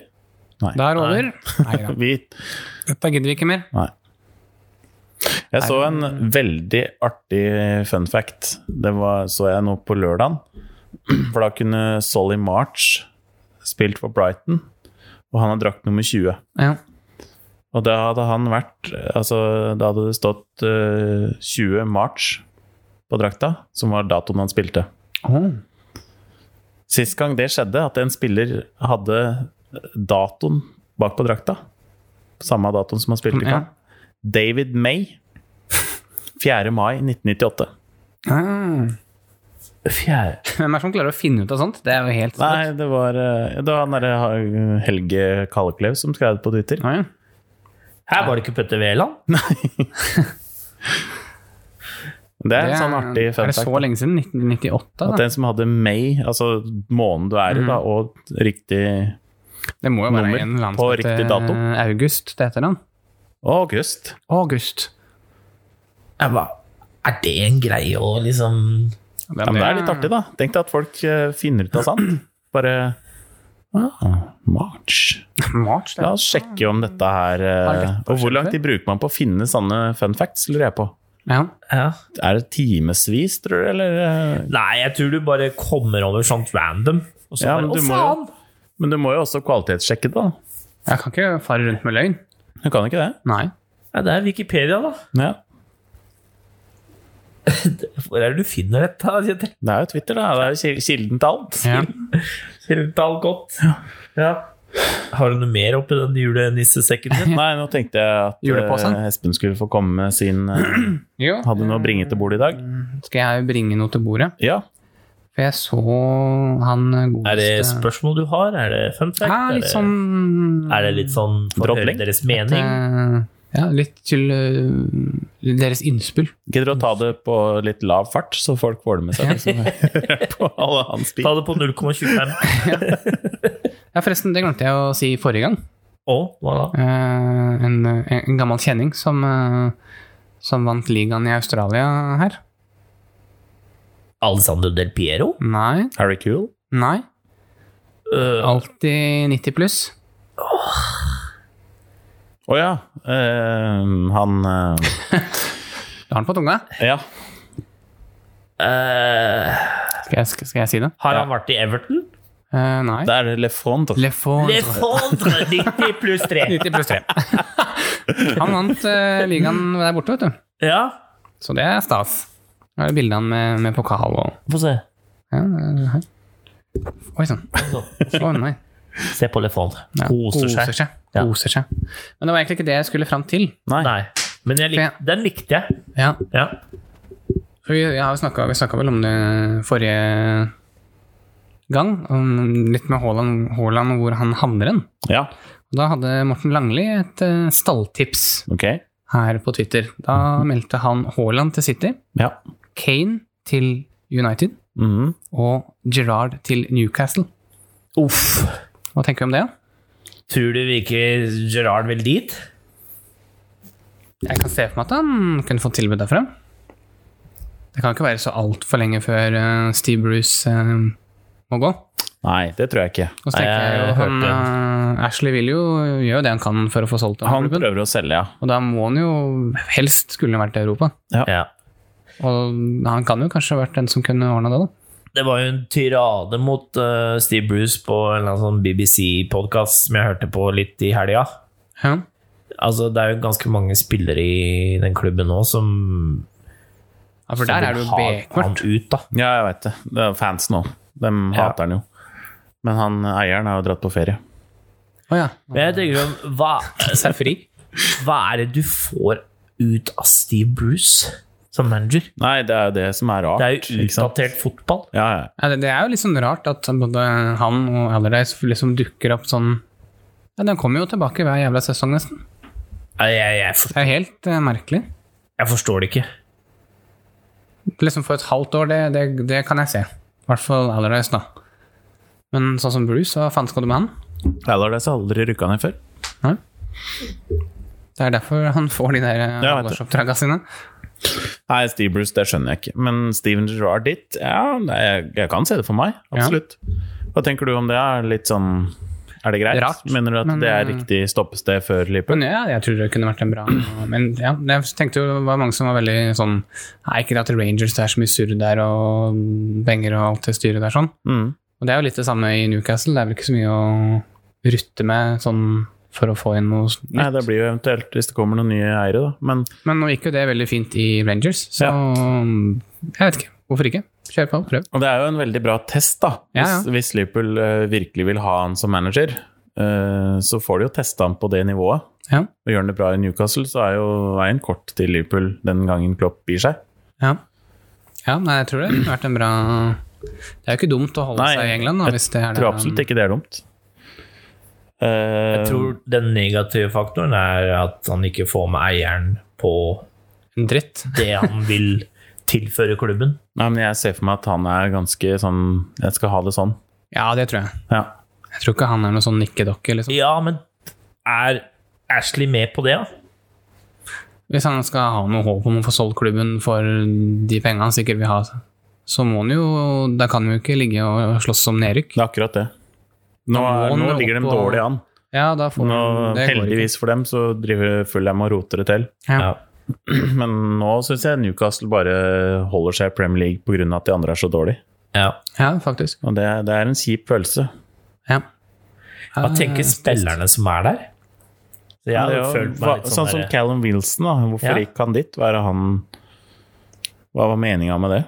[SPEAKER 3] Da er det over. Nei [laughs] da.
[SPEAKER 1] Vi
[SPEAKER 3] Dette gidder vi ikke mer.
[SPEAKER 1] Nei. Jeg så en veldig artig fun fact. Det var, så jeg nå på lørdagen. [clears throat] For da kunne Solly March spilt for Brighton, og han har drakt nummer 20.
[SPEAKER 3] Ja.
[SPEAKER 1] Og da hadde han vært Altså, da hadde det stått eh, 20 March på drakta, som var datoen han spilte.
[SPEAKER 3] Åh.
[SPEAKER 1] Sist gang det skjedde, at en spiller hadde datoen bak på drakta, samme datoen som han spilte i
[SPEAKER 3] Ja.
[SPEAKER 1] kamp, David May. 4. mai 1998.
[SPEAKER 3] Ah.
[SPEAKER 2] Fjerde.
[SPEAKER 3] Hvem er det som klarer å finne ut av sånt? Det er jo helt
[SPEAKER 1] Nei, det var, eh, det var han derre eh, Helge Kalleklev som skrev det på Twitter.
[SPEAKER 3] Ja, ja.
[SPEAKER 2] Her var det ikke Petter Wæland.
[SPEAKER 1] Det er en sånn artig
[SPEAKER 3] Er
[SPEAKER 1] fun
[SPEAKER 3] det så
[SPEAKER 1] fact.
[SPEAKER 3] lenge siden? 1998?
[SPEAKER 1] At
[SPEAKER 3] Da? Mm.
[SPEAKER 1] den som hadde May, altså måneden du er i, da, og riktig
[SPEAKER 3] Det må jo være
[SPEAKER 1] nummer
[SPEAKER 3] en eller annen
[SPEAKER 1] på
[SPEAKER 3] som heter eh,
[SPEAKER 1] riktig dato.
[SPEAKER 3] August, det heter han.
[SPEAKER 1] og august
[SPEAKER 3] August.
[SPEAKER 2] Jeg ba, er det en greie å liksom
[SPEAKER 1] ja, men Det er litt artig, da. Tenk deg at folk eh, finner ut av sånt. Bare ah, March.
[SPEAKER 3] March, det.
[SPEAKER 1] La oss sjekke om dette her eh,
[SPEAKER 3] rett på
[SPEAKER 1] Og hvor lang
[SPEAKER 3] skjermen.
[SPEAKER 1] tid bruker man på å finne sånne fun facts, lurer jeg på.
[SPEAKER 3] Ja.
[SPEAKER 2] ja.
[SPEAKER 1] Er det timevis, tror du, eller? eh?
[SPEAKER 2] Nei, jeg tror du bare kommer over sånt random. Og så
[SPEAKER 1] Ja,
[SPEAKER 2] bare,
[SPEAKER 1] men
[SPEAKER 2] Å,
[SPEAKER 1] du må
[SPEAKER 2] faen!
[SPEAKER 1] jo- Men du må jo også kvalitetssjekke det, da.
[SPEAKER 3] Jeg kan ikke fare rundt med løgn.
[SPEAKER 1] Du kan ikke det?
[SPEAKER 3] Nei.
[SPEAKER 2] Ja, det er Wikipedia, da.
[SPEAKER 1] Ja.
[SPEAKER 2] Hvor er det du finner dette? Kjetil?
[SPEAKER 1] Det er jo Twitter, da. Det er jo kil- kilden til alt.
[SPEAKER 3] Ja.
[SPEAKER 2] Kjetil alt godt. Ja. Har du noe mer oppi den julenissesekken din?
[SPEAKER 1] [laughs] Nei, nå tenkte jeg at
[SPEAKER 3] Juleposen?
[SPEAKER 1] eh, Espen skulle få komme med sin eh,
[SPEAKER 3] Jo,
[SPEAKER 1] Hadde du noe å bringe til bordet i dag?
[SPEAKER 3] skal jeg bringe noe til bordet?
[SPEAKER 1] Ja.
[SPEAKER 3] For For jeg så han godeste
[SPEAKER 2] Er det spørsmål du har? Er det fun fact?
[SPEAKER 3] Ja,
[SPEAKER 2] Er
[SPEAKER 3] litt
[SPEAKER 2] det-
[SPEAKER 3] sånn
[SPEAKER 2] Er det litt sånn for å høre
[SPEAKER 1] Drodling?
[SPEAKER 2] deres mening?
[SPEAKER 3] eh, Ja, litt til eh, deres innspill.
[SPEAKER 1] Gidder du å ta det på litt lav fart, så folk får det med seg? liksom, [laughs] på alle hans
[SPEAKER 2] Ta
[SPEAKER 1] bil.
[SPEAKER 2] det på 0,25.
[SPEAKER 3] Ja, forresten, det glemte jeg å si forrige gang.
[SPEAKER 2] Å, hva da?
[SPEAKER 3] Eh, en, en gammel kjenning som, eh, som vant ligaen i Australia her.
[SPEAKER 2] Alessandro Del Piero?
[SPEAKER 3] Nei,
[SPEAKER 1] Harry Cool?
[SPEAKER 3] nei.
[SPEAKER 2] Øh,
[SPEAKER 3] Alltid 90 pluss.
[SPEAKER 1] Å ja. eh, han eh,
[SPEAKER 3] Du har den på tunga.
[SPEAKER 1] Ja.
[SPEAKER 2] øh,
[SPEAKER 3] Skal jeg, skal skal jeg si det?
[SPEAKER 2] har han vært i Everton?
[SPEAKER 3] Eh, nei.
[SPEAKER 1] Det er Lefond.
[SPEAKER 3] Le Fond.
[SPEAKER 2] Le [laughs] Fondre 90 pluss
[SPEAKER 3] [laughs]
[SPEAKER 2] 3!
[SPEAKER 3] 90
[SPEAKER 2] [laughs]
[SPEAKER 3] pluss 3. Han vant eh, ligaen der borte, vet du.
[SPEAKER 2] Ja,
[SPEAKER 3] Så det er stas. Her er det bildet av han med, med pokal og
[SPEAKER 2] få se.
[SPEAKER 3] ja, det er her. Oi sann. Slå unna.
[SPEAKER 2] Se på Le Fondre.
[SPEAKER 3] Ja,
[SPEAKER 2] Koser seg.
[SPEAKER 3] seg.
[SPEAKER 2] Ja.
[SPEAKER 3] Koser seg. Men det var egentlig ikke det jeg skulle fram til.
[SPEAKER 1] Nei.
[SPEAKER 2] Nei, men jeg lik, den likte jeg.
[SPEAKER 3] Ja,
[SPEAKER 2] Ja.
[SPEAKER 3] for Vi, jeg har jo snakket, vi snakka vel om det forrige gang, om litt med Haaland, Haaland og hvor han havner hen.
[SPEAKER 1] Ja,
[SPEAKER 3] Og Da hadde Morten Langli et eh, stalltips
[SPEAKER 1] ok.
[SPEAKER 3] her på Twitter. Da meldte han Haaland til City,
[SPEAKER 1] Ja.
[SPEAKER 3] Kane til United
[SPEAKER 1] Mhm.
[SPEAKER 3] og Gerrard til Newcastle.
[SPEAKER 2] Uff.
[SPEAKER 3] Hva tenker vi om det?
[SPEAKER 2] Tror du ikke Gerard vil dit?
[SPEAKER 3] Jeg kan se for meg at han kunne fått tilbud derfra. Det kan ikke være så altfor lenge før eh, Steve Bruce eh, må gå.
[SPEAKER 1] Nei, det tror jeg ikke.
[SPEAKER 3] Og så tenker
[SPEAKER 2] Nei, jeg
[SPEAKER 3] jeg jo
[SPEAKER 2] hørte
[SPEAKER 3] han, eh, Ashley vil jo gjøre det han kan for å få solgt den
[SPEAKER 1] Eh, Han
[SPEAKER 3] klubben.
[SPEAKER 1] prøver å selge, ja.
[SPEAKER 3] Og da må han jo helst skulle han vært i Europa.
[SPEAKER 2] Ja.
[SPEAKER 3] Og han kan jo kanskje ha vært den som kunne ordna det, da.
[SPEAKER 2] Det var jo en tyrade mot eh, Steve Bruce på en eller annen sånn BBC-podkast som jeg hørte på litt i helga.
[SPEAKER 3] Ja.
[SPEAKER 2] Altså, det er jo ganske mange spillere i den klubben nå som
[SPEAKER 3] Ja, for der er det jo
[SPEAKER 2] han
[SPEAKER 3] bekmørkt.
[SPEAKER 2] ut, da.
[SPEAKER 1] Ja, jeg veit det. Det er fans nå. De hater han jo. Men han eieren har jo dratt på ferie.
[SPEAKER 3] Å ja.
[SPEAKER 2] Men jeg tenker sånn, hva,
[SPEAKER 3] [laughs] Seg fri.
[SPEAKER 2] hva er det du får ut av Steve Bruce som manager?
[SPEAKER 1] Nei, det er jo det som er rart.
[SPEAKER 2] Det er jo
[SPEAKER 1] ikke sant?
[SPEAKER 2] utdatert fotball.
[SPEAKER 1] Ja, ja.
[SPEAKER 3] Ja, det, det er jo litt sånn rart at både han og Allardyce liksom dukker opp sånn ja, Den kommer jo tilbake hver jævla sesong, nesten.
[SPEAKER 2] Jeg, jeg, jeg, for,
[SPEAKER 3] Det er jo helt eh, merkelig.
[SPEAKER 2] jeg forstår det ikke.
[SPEAKER 3] Liksom for et halvt år, det, det, det kan jeg se. I hvert fall Allardyce, da. Men sånn som Bruce, hva faen skal du med han?
[SPEAKER 1] Allardyce har aldri rykka ned før.
[SPEAKER 3] Nei. Det er derfor han får de der
[SPEAKER 1] vet du.
[SPEAKER 3] halvårsoppdraga sine.
[SPEAKER 1] Nei, Steve Bruce, det skjønner jeg ikke. Men Steven Gerrard ditt, ja, nei, jeg, jeg kan se det for meg. Absolutt. Hva tenker du om det? Er litt sånn Er det greit?
[SPEAKER 3] Rart,
[SPEAKER 1] Mener du at
[SPEAKER 3] men,
[SPEAKER 1] det er
[SPEAKER 3] eh,
[SPEAKER 1] riktig stoppested før Liverpool?
[SPEAKER 3] Men ja, jeg tror det kunne vært en bra Men ja, jeg tenkte jo det var mange som var veldig sånn Nei, ikke at Rangers det er så mye surr der, og penger og alt det styret der sånn.
[SPEAKER 1] Mm.
[SPEAKER 3] Og det er jo litt det samme i Newcastle. Det er vel ikke så mye å rutte med sånn for å få inn noe nytt.
[SPEAKER 1] Nei, det blir jo eventuelt hvis det kommer noen nye eiere, da. Men
[SPEAKER 3] Men nå gikk jo det veldig fint i Rangers, så jeg vet ikke. Hvorfor ikke? Kjør på, prøv.
[SPEAKER 1] Og det er jo en veldig bra test, da.
[SPEAKER 3] Ja,
[SPEAKER 1] Hvis, hvis Liverpool eh, virkelig vil ha han som manager, eh, så får de jo teste han på det nivået.
[SPEAKER 3] Ja.
[SPEAKER 1] Og gjør han det bra i Newcastle, så er jo veien kort til Liverpool den gangen Klopp gir seg.
[SPEAKER 3] Ja, ja nei, jeg tror det har vært en bra Det er jo ikke dumt å holde
[SPEAKER 1] Nei,
[SPEAKER 3] seg i England, da,
[SPEAKER 1] jeg
[SPEAKER 3] hvis det er
[SPEAKER 1] Jeg tror absolutt ikke det er dumt. Eh,
[SPEAKER 2] Jeg tror den negative faktoren er at han ikke får med eieren på
[SPEAKER 3] en dritt.
[SPEAKER 2] det han vil tilføre klubben.
[SPEAKER 1] Nei, men jeg ser for meg at han er ganske sånn Jeg skal ha det sånn.
[SPEAKER 3] Ja, det tror jeg.
[SPEAKER 1] Ja.
[SPEAKER 3] Jeg tror ikke han er noen sånn nikkedokke, liksom.
[SPEAKER 2] Ja, men er Ashley med på det, da?
[SPEAKER 3] Hvis han skal ha noe håp om å få solgt klubben for de pengene han sikkert vil ha, så må han jo Da kan han jo ikke ligge og slåss om nedrykk.
[SPEAKER 1] Det er akkurat det. Nå,
[SPEAKER 3] Da må
[SPEAKER 1] er, nå
[SPEAKER 3] han
[SPEAKER 1] ligger de
[SPEAKER 3] opp og-
[SPEAKER 1] dårlig an.
[SPEAKER 3] Ja, da får
[SPEAKER 1] Nå,
[SPEAKER 3] han det går ikke.
[SPEAKER 1] heldigvis for dem så driver Fulham og roter det til.
[SPEAKER 3] Ja.
[SPEAKER 1] Men nå syns jeg Newcastle bare holder seg i Premier League pga. at de andre er så dårlig.
[SPEAKER 2] Ja.
[SPEAKER 3] ja, faktisk.
[SPEAKER 1] Og det, det er en kjip følelse.
[SPEAKER 3] Ja.
[SPEAKER 2] Hva tenker spillerne som er der? Så jeg
[SPEAKER 1] Det
[SPEAKER 2] har
[SPEAKER 1] er jo-
[SPEAKER 2] følt
[SPEAKER 1] hva,
[SPEAKER 2] meg litt
[SPEAKER 1] sånn
[SPEAKER 2] sånn,
[SPEAKER 1] som
[SPEAKER 2] der-
[SPEAKER 1] Callum Wilson, da. Hvorfor
[SPEAKER 2] Ja.
[SPEAKER 1] gikk han dit? Hva, er det han, hva var meninga med det?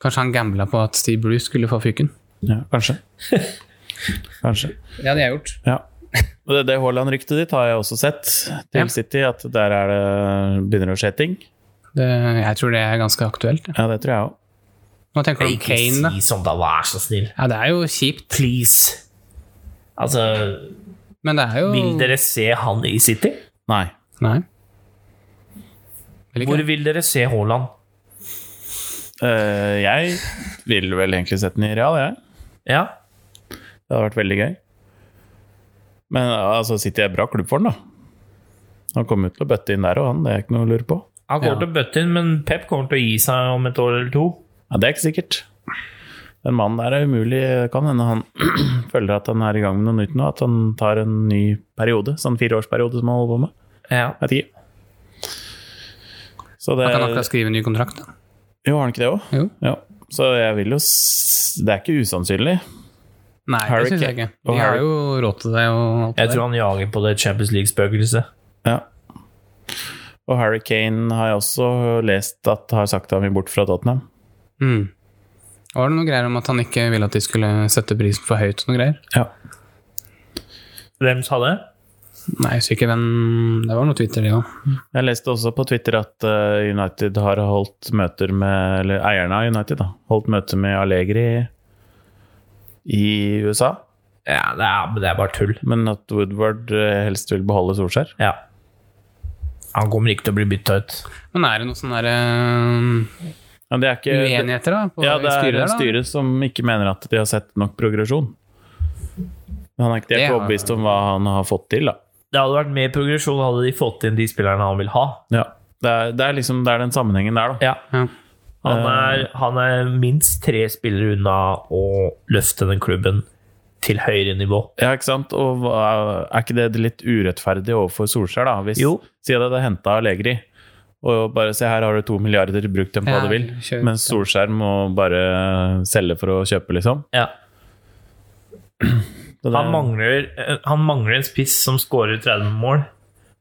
[SPEAKER 3] Kanskje han gambla på at Steve Bruce skulle få fyken?
[SPEAKER 1] Ja,
[SPEAKER 2] [laughs]
[SPEAKER 1] kanskje. kanskje.
[SPEAKER 3] Ja, det har jeg gjort.
[SPEAKER 1] Ja. Og det, det Haaland-ryktet ditt har jeg også sett til
[SPEAKER 3] Ja.
[SPEAKER 1] City, at der er det begynner å skje ting.
[SPEAKER 3] Det, jeg tror det er ganske aktuelt. ja.
[SPEAKER 1] Ja, det tror jeg òg.
[SPEAKER 3] Hva tenker du om
[SPEAKER 2] Ikke
[SPEAKER 3] Kane, da?
[SPEAKER 2] si sånn, da. Vær så snill.
[SPEAKER 3] Ja, det er jo kjipt,
[SPEAKER 2] Please. Altså,
[SPEAKER 3] men det er jo
[SPEAKER 2] vil dere se han i City?
[SPEAKER 1] Nei.
[SPEAKER 3] Nei. Vil ikke
[SPEAKER 2] Hvor
[SPEAKER 3] det.
[SPEAKER 2] vil dere se Haaland?
[SPEAKER 1] Eh, jeg ville vel egentlig sett den i real, jeg.
[SPEAKER 2] Ja.
[SPEAKER 1] Det hadde vært veldig gøy. Men altså, City er bra klubb for den, da. Han kommer jo til å bøtte inn der og han, det er ikke noe å lure på.
[SPEAKER 2] Han kommer
[SPEAKER 3] Ja.
[SPEAKER 2] til å bøtte inn, men Pep kommer til å gi seg om et år eller to.
[SPEAKER 1] Ja, det er ikke sikkert. Den mannen der er umulig. Det Kan hende han [clears throat] føler at han er i gang med noe nytt nå. At han tar en ny periode, sånn fireårsperiode som han holder på med.
[SPEAKER 2] Ja.
[SPEAKER 1] Jeg vet ikke. Så det
[SPEAKER 3] Han kan
[SPEAKER 1] Eh,
[SPEAKER 3] akkurat skrive ny kontrakt, da.
[SPEAKER 1] Jo, har han ikke det òg?
[SPEAKER 3] Jo.
[SPEAKER 1] Ja. Så jeg vil jo s Det er ikke usannsynlig.
[SPEAKER 3] Nei,
[SPEAKER 1] Harry
[SPEAKER 3] det syns jeg
[SPEAKER 1] Kane.
[SPEAKER 3] ikke.
[SPEAKER 1] Og
[SPEAKER 3] De har
[SPEAKER 1] Harry-
[SPEAKER 3] jo råd til det og alt det
[SPEAKER 2] Jeg tror han jager på det Champions League-spøkelset.
[SPEAKER 1] Ja. Og Harry Kane har jeg også lest at har sagt at han vil bort fra Tottenham.
[SPEAKER 3] der. Mm. Var det noe greier om at han ikke ville at de skulle sette prisen for høyt og noe greier?
[SPEAKER 1] Ja.
[SPEAKER 2] Hvem sa det?
[SPEAKER 3] Nei, jeg husker ikke hvem Det var noe Twitter, det òg.
[SPEAKER 1] Jeg leste også på Twitter at eh, United har holdt møter med Eller eierne av United, da. Holdt møte med Allegri i USA.
[SPEAKER 2] Ja, det er, men det er bare tull.
[SPEAKER 1] Men at Woodward eh, helst vil beholde Solskjær.
[SPEAKER 2] Ja. Han kommer ikke til å bli bytta ut.
[SPEAKER 3] Men er det noen sånne der,
[SPEAKER 1] Men det er ikke
[SPEAKER 3] eh, uenigheter da, på
[SPEAKER 1] Ja, det er
[SPEAKER 3] styret der? da?
[SPEAKER 1] styret som ikke mener at de har sett nok progresjon. Men Han er ikke, de er
[SPEAKER 3] Det
[SPEAKER 1] ikke
[SPEAKER 3] er-
[SPEAKER 1] overbevist om hva han har fått til, da.
[SPEAKER 2] Det hadde vært mer progresjon hadde de fått inn de spillerne han vil ha.
[SPEAKER 1] Ja. Det, er, det er liksom det er den sammenhengen der, da.
[SPEAKER 2] Ja.
[SPEAKER 3] Ja.
[SPEAKER 2] Han er, han er minst tre spillere unna å løfte den klubben til høyere nivå.
[SPEAKER 1] Ja, ikke sant? Og hva- er ikke det litt urettferdig overfor Solskjær, da? Hvis
[SPEAKER 2] Jo.
[SPEAKER 1] Si at jeg hadde henta Allegri, og bare se her har du to milliarder, bruk dem på hva
[SPEAKER 3] Ja,
[SPEAKER 1] du vil.
[SPEAKER 3] kjør.
[SPEAKER 1] Men Solskjær må bare selge for å kjøpe, liksom.
[SPEAKER 2] Ja.
[SPEAKER 1] Så det-
[SPEAKER 2] Han mangler, eh, han mangler en spiss som skårer 30 mål.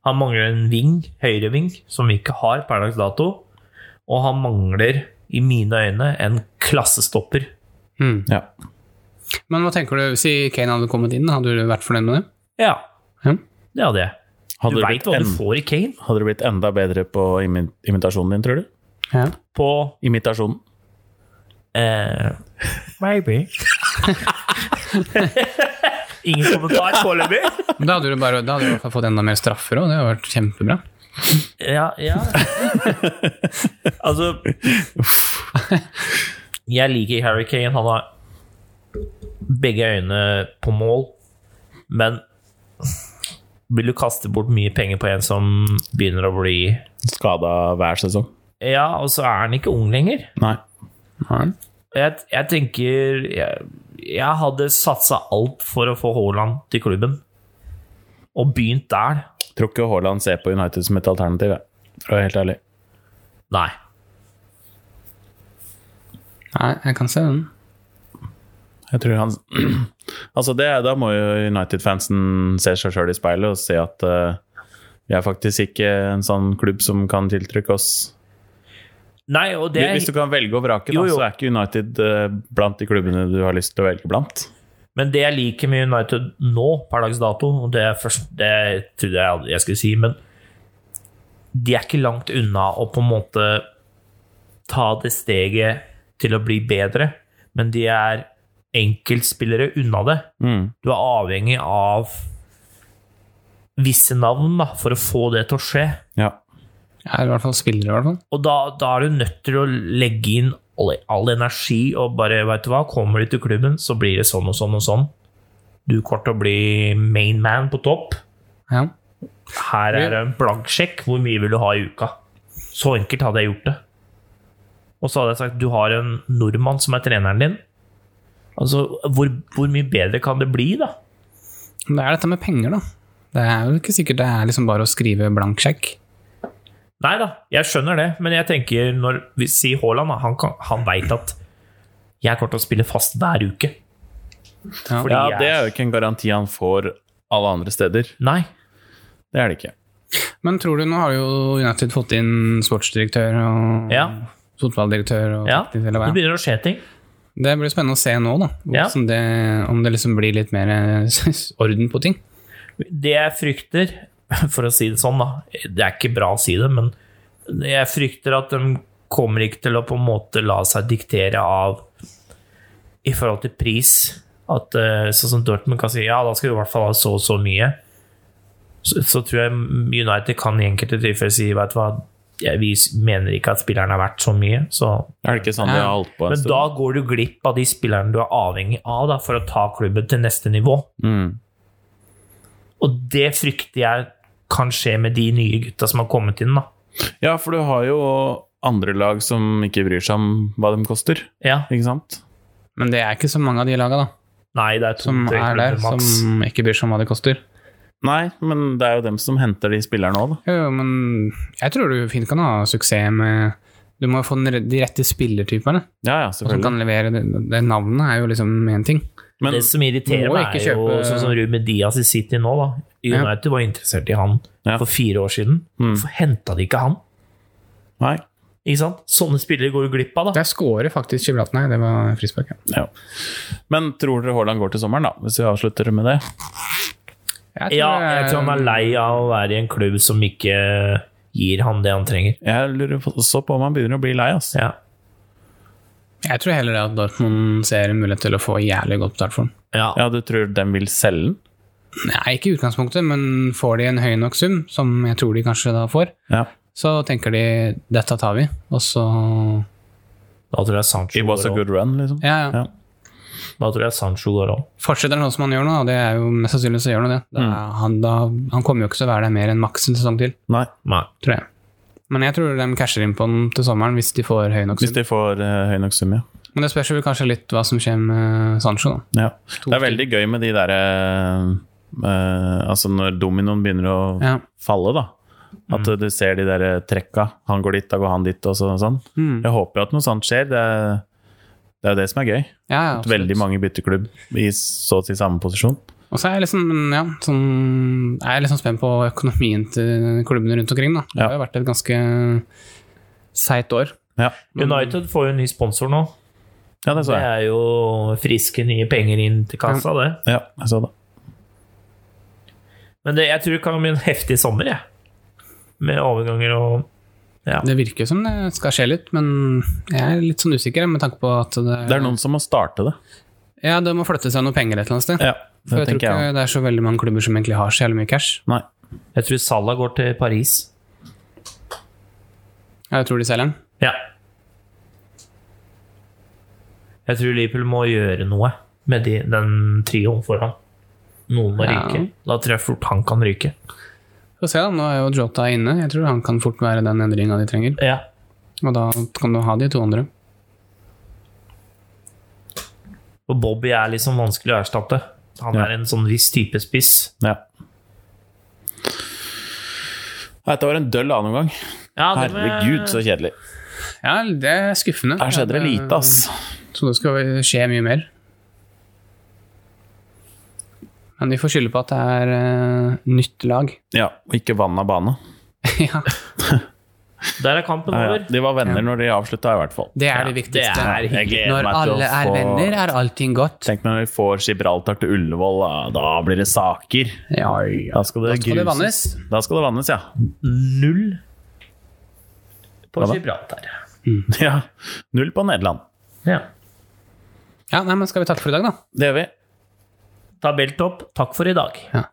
[SPEAKER 2] Han mangler en ving, høyreving, som vi ikke har per dags dato. Og han mangler, i mine øyne, en klassestopper.
[SPEAKER 3] Mm.
[SPEAKER 1] ja.
[SPEAKER 3] Men hva tenker du, si Kane hadde kommet inn, hadde du vært fornøyd med det?
[SPEAKER 2] Ja,
[SPEAKER 3] Ja.
[SPEAKER 2] det hadde jeg.
[SPEAKER 1] hadde,
[SPEAKER 2] Du
[SPEAKER 1] det
[SPEAKER 2] veit
[SPEAKER 1] blitt
[SPEAKER 2] hva du
[SPEAKER 1] en-
[SPEAKER 2] får i Kane.
[SPEAKER 1] hadde det blitt enda bedre på imi imitasjonen din, tror du?
[SPEAKER 3] Ja.
[SPEAKER 2] På
[SPEAKER 1] Imitasjonen.
[SPEAKER 2] eh, Maybe. [laughs] Ingen kommentar foreløpig.
[SPEAKER 3] Men Da hadde du bare da hadde du i hvert fall fått enda mer straffer òg, det hadde vært kjempebra.
[SPEAKER 2] Ja, ja. altså Jeg liker Harry Kane. Han har begge øyne på mål, men vil du kaste bort mye penger på en som begynner å bli
[SPEAKER 1] Skada hver sesong.
[SPEAKER 2] Ja, og så er han ikke ung lenger.
[SPEAKER 1] Nei.
[SPEAKER 3] Ja.
[SPEAKER 2] Jeg, jeg tenker jeg, jeg hadde satsa alt for å få Haaland til klubben, og begynt der.
[SPEAKER 1] Tror ikke Haaland ser på United som et alternativ, jeg. for å være helt ærlig.
[SPEAKER 2] Nei.
[SPEAKER 3] Nei, jeg kan se den.
[SPEAKER 1] Jeg tror han [clears throat] Altså, det, da må jo United-fansen se seg sjøl i speilet og se at eh, vi er faktisk ikke en sånn klubb som kan tiltrykke oss
[SPEAKER 2] Nei, og det
[SPEAKER 1] Hvis du kan velge og vrake, da,
[SPEAKER 2] Jo, jo.
[SPEAKER 1] så er ikke United eh, blant de klubbene du har lyst til å velge blant.
[SPEAKER 2] Men det jeg liker med United nå, per dags dato, og det, er først, det trodde jeg aldri jeg skulle si, men de er ikke langt unna å på en måte ta det steget til å bli bedre, men de er enkeltspillere unna det.
[SPEAKER 1] Mm.
[SPEAKER 2] Du er avhengig av visse navn da, for å få det til å skje.
[SPEAKER 1] Ja.
[SPEAKER 3] Jeg er i hvert fall spillere, i hvert fall.
[SPEAKER 2] Og da, da er du nødt til å legge inn all, all energi og bare, vet du hva, kommer du til klubben, så blir det sånn og sånn og sånn. Du kommer til å bli main man på topp.
[SPEAKER 3] Ja.
[SPEAKER 2] Her er det en blank sjekk. Hvor mye vil du ha i uka? Så enkelt hadde jeg gjort det. Og så hadde jeg sagt du har en nordmann som er treneren din. Altså, hvor, hvor mye bedre kan det bli, da?
[SPEAKER 3] Men det er dette med penger, da. Det er jo ikke sikkert det er liksom bare å skrive blank sjekk.
[SPEAKER 2] Nei da, jeg skjønner det, men jeg tenker når vi sier Haaland, da, han, kan- han veit at jeg kommer til å spille fast hver uke.
[SPEAKER 3] Ja.
[SPEAKER 2] Fordi
[SPEAKER 1] ja,
[SPEAKER 2] jeg-
[SPEAKER 1] det er jo ikke en garanti han får alle andre steder.
[SPEAKER 2] Nei.
[SPEAKER 1] Det er det ikke.
[SPEAKER 3] Men tror du, nå har jo United fått inn sportsdirektør og
[SPEAKER 2] Ja.
[SPEAKER 3] fotballdirektør og
[SPEAKER 2] Ja,
[SPEAKER 3] taktisk, Mm, eller hva?
[SPEAKER 2] det begynner å skje ting.
[SPEAKER 3] Det blir spennende å se nå, da.
[SPEAKER 2] Ja.
[SPEAKER 3] Hvordan det, om det liksom blir litt mer eh, [laughs] orden på ting.
[SPEAKER 2] Det jeg frykter, [laughs] for å si det sånn, da Det er ikke bra å si det, men jeg frykter at de kommer ikke til å på en måte la seg diktere av i forhold til pris. At eh, sånn som Dortmund kan si ja, da skal du i hvert fall ha så og så mye. Så, så tror jeg United kan i enkelte tilfeller si vet du hva, ja, vi mener ikke at spilleren er verdt så mye. Så.
[SPEAKER 1] Er det ikke sånn de har holdt på en
[SPEAKER 2] Men
[SPEAKER 1] stund?
[SPEAKER 2] da går du glipp av de spillerne du er avhengig av da, for å ta klubben til neste nivå.
[SPEAKER 1] Mm.
[SPEAKER 2] Og det frykter jeg kan skje med de nye gutta som har kommet inn. da.
[SPEAKER 1] Ja, for du har jo andre lag som ikke bryr seg om hva de koster,
[SPEAKER 2] Ja.
[SPEAKER 1] ikke sant?
[SPEAKER 3] Men det er ikke så mange av de laga da,
[SPEAKER 2] Nei, det er
[SPEAKER 3] som
[SPEAKER 2] to-tre
[SPEAKER 3] er der,
[SPEAKER 2] klubber maks.
[SPEAKER 3] som ikke bryr seg om hva de koster.
[SPEAKER 1] Nei, men det er jo dem som henter de spillerne òg, da.
[SPEAKER 3] Jo, jo, men jeg tror du fint kan ha suksess med Du må jo få den re- de rette spillertypene
[SPEAKER 1] Ja, ja,
[SPEAKER 3] som
[SPEAKER 1] selvfølgelig.
[SPEAKER 3] kan levere det. det navnet er jo liksom én ting.
[SPEAKER 1] Men
[SPEAKER 2] det som irriterer
[SPEAKER 3] Må
[SPEAKER 2] meg,
[SPEAKER 3] ikke
[SPEAKER 2] er jo
[SPEAKER 3] kjøpe-
[SPEAKER 2] sånn som Ruben Diaz i City nå. da.
[SPEAKER 3] Ja.
[SPEAKER 2] United var interessert i han
[SPEAKER 1] Ja.
[SPEAKER 2] for fire år siden. Hvorfor henta de ikke han?
[SPEAKER 1] nei.
[SPEAKER 2] Ikke sant? Sånne spillere går du glipp av, da.
[SPEAKER 3] Der scorer faktisk Skiblatnei, det var frispark. ja.
[SPEAKER 1] Ja. Men tror dere Haaland går til sommeren, da? Hvis vi avslutter med det?
[SPEAKER 3] Jeg
[SPEAKER 2] Ja,
[SPEAKER 3] det
[SPEAKER 2] jeg tror han er lei av å være i en klubb som ikke gir ham det han trenger.
[SPEAKER 1] Jeg lurer på- også på om han begynner å bli lei, altså.
[SPEAKER 2] Ja,
[SPEAKER 3] Jeg tror heller det at Dortmund ser en mulighet til å få jævlig godt betalt for den.
[SPEAKER 2] ja.
[SPEAKER 1] Ja, du tror de vil selge den?
[SPEAKER 3] Nei, ikke i utgangspunktet, men får de en høy nok sum, som jeg tror de kanskje da får,
[SPEAKER 1] Ja.
[SPEAKER 3] så tenker de 'dette tar vi', og så
[SPEAKER 2] Da tror jeg Sancho
[SPEAKER 1] It was
[SPEAKER 2] går
[SPEAKER 1] a
[SPEAKER 2] òg.
[SPEAKER 1] good run, liksom?
[SPEAKER 3] Ja, ja.
[SPEAKER 1] Ja.
[SPEAKER 2] Da tror jeg Sancho går òg.
[SPEAKER 3] Fortsetter han sånn som han gjør nå, og det er jo mest sannsynlig så gjør han det. Da,
[SPEAKER 1] Mm.
[SPEAKER 3] han, da, han kommer jo ikke til å være der mer enn maks en sesong til,
[SPEAKER 1] Nei.
[SPEAKER 2] Nei.
[SPEAKER 3] tror jeg. Men jeg tror de casher inn på den til sommeren hvis de får høy nok
[SPEAKER 1] Hvis
[SPEAKER 3] sum.
[SPEAKER 1] de får eh, høy nok sum, ja.
[SPEAKER 3] Men det spørs jo kanskje litt hva som skjer med Sancho, da.
[SPEAKER 1] ja.
[SPEAKER 3] To
[SPEAKER 1] Det er veldig gøy med de derre Altså når dominoen begynner å
[SPEAKER 3] Ja. Mm.
[SPEAKER 1] falle, da. At du ser de der eh, trekka. Han går dit, da går han dit, og så, sånn. Jeg håper jo at noe sånt skjer. Det er, det er jo det som er gøy.
[SPEAKER 3] Ja, ja,
[SPEAKER 1] At
[SPEAKER 3] absolutt.
[SPEAKER 1] veldig mange bytter klubb i så å si samme posisjon.
[SPEAKER 3] Og så er jeg liksom, ja, sånn, jeg er liksom spent på økonomien til klubbene rundt omkring. Da. Det
[SPEAKER 1] Ja.
[SPEAKER 3] har jo vært et ganske seigt år.
[SPEAKER 1] Ja,
[SPEAKER 2] United får jo en ny sponsor nå.
[SPEAKER 1] ja det
[SPEAKER 2] Det
[SPEAKER 1] så jeg.
[SPEAKER 2] er jo friske nye penger inn til kassa, det.
[SPEAKER 1] Ja, jeg så det.
[SPEAKER 2] Men det, jeg tror det kan bli en heftig sommer, jeg. Med overganger og ja.
[SPEAKER 3] Det virker som det skal skje litt, men jeg er litt sånn usikker med tanke på at det,
[SPEAKER 1] Det er noen som må starte det.
[SPEAKER 3] ja, det må flytte seg noe penger et eller annet sted.
[SPEAKER 1] Ja,
[SPEAKER 3] For
[SPEAKER 1] det tenker
[SPEAKER 3] jeg tror ikke
[SPEAKER 1] jeg òg.
[SPEAKER 3] det er så veldig mange klubber som egentlig har så jævlig mye cash.
[SPEAKER 1] Nei.
[SPEAKER 2] Jeg tror Salah går til Paris.
[SPEAKER 3] Ja, Jeg tror de selger den.
[SPEAKER 2] Ja. Jeg tror Liverpool må gjøre noe med de, den trioen foran. Noen må
[SPEAKER 3] Ja.
[SPEAKER 2] ryke. Da tror jeg fort han kan ryke.
[SPEAKER 3] Få se, da. Nå er jo Jota inne. Jeg tror han kan fort være den endringa de trenger.
[SPEAKER 2] Ja.
[SPEAKER 3] Og da kan du ha de to andre.
[SPEAKER 2] Og Bobby er liksom vanskelig å erstatte. Han
[SPEAKER 1] Ja.
[SPEAKER 2] er en sånn viss type spiss.
[SPEAKER 1] Ja. Dette var en døll andreomgang.
[SPEAKER 2] Ja, det med-
[SPEAKER 1] Herregud, så kjedelig.
[SPEAKER 3] Ja, det er skuffende.
[SPEAKER 1] Her skjedde det lite, ass.
[SPEAKER 3] Så det skal skje mye mer. Men de får skylde på at det er eh, nytt lag. [laughs]
[SPEAKER 1] Ja, og ikke vann av bane.
[SPEAKER 3] ja,
[SPEAKER 2] Der er kampen
[SPEAKER 1] Ja, ja.
[SPEAKER 2] over.
[SPEAKER 1] De var venner når de avslutta, i hvert fall.
[SPEAKER 3] det er
[SPEAKER 2] Ja,
[SPEAKER 3] det viktigste.
[SPEAKER 2] det er
[SPEAKER 1] Jeg gleder
[SPEAKER 3] Når
[SPEAKER 1] meg til å
[SPEAKER 3] alle er
[SPEAKER 1] få-
[SPEAKER 3] venner, er allting godt.
[SPEAKER 1] Tenk når vi får Gibraltar til Ullevål, da, da blir det saker.
[SPEAKER 3] Ja,
[SPEAKER 1] Da
[SPEAKER 3] ja.
[SPEAKER 1] skal det
[SPEAKER 3] Da skal det
[SPEAKER 1] gruses.
[SPEAKER 3] vannes.
[SPEAKER 1] Da skal det vannes, ja. [laughs]
[SPEAKER 2] Null på
[SPEAKER 1] Hva da?
[SPEAKER 2] Gibraltar.
[SPEAKER 1] ja. Null på Nederland.
[SPEAKER 2] Ja.
[SPEAKER 3] ja nei, men skal vi takke for i dag, da?
[SPEAKER 1] Det gjør vi.
[SPEAKER 2] Tabelltopp. Takk for i dag.
[SPEAKER 3] Ja.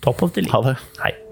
[SPEAKER 2] Topp of the
[SPEAKER 1] Mm. Ha
[SPEAKER 2] league.
[SPEAKER 1] det.
[SPEAKER 2] Hei.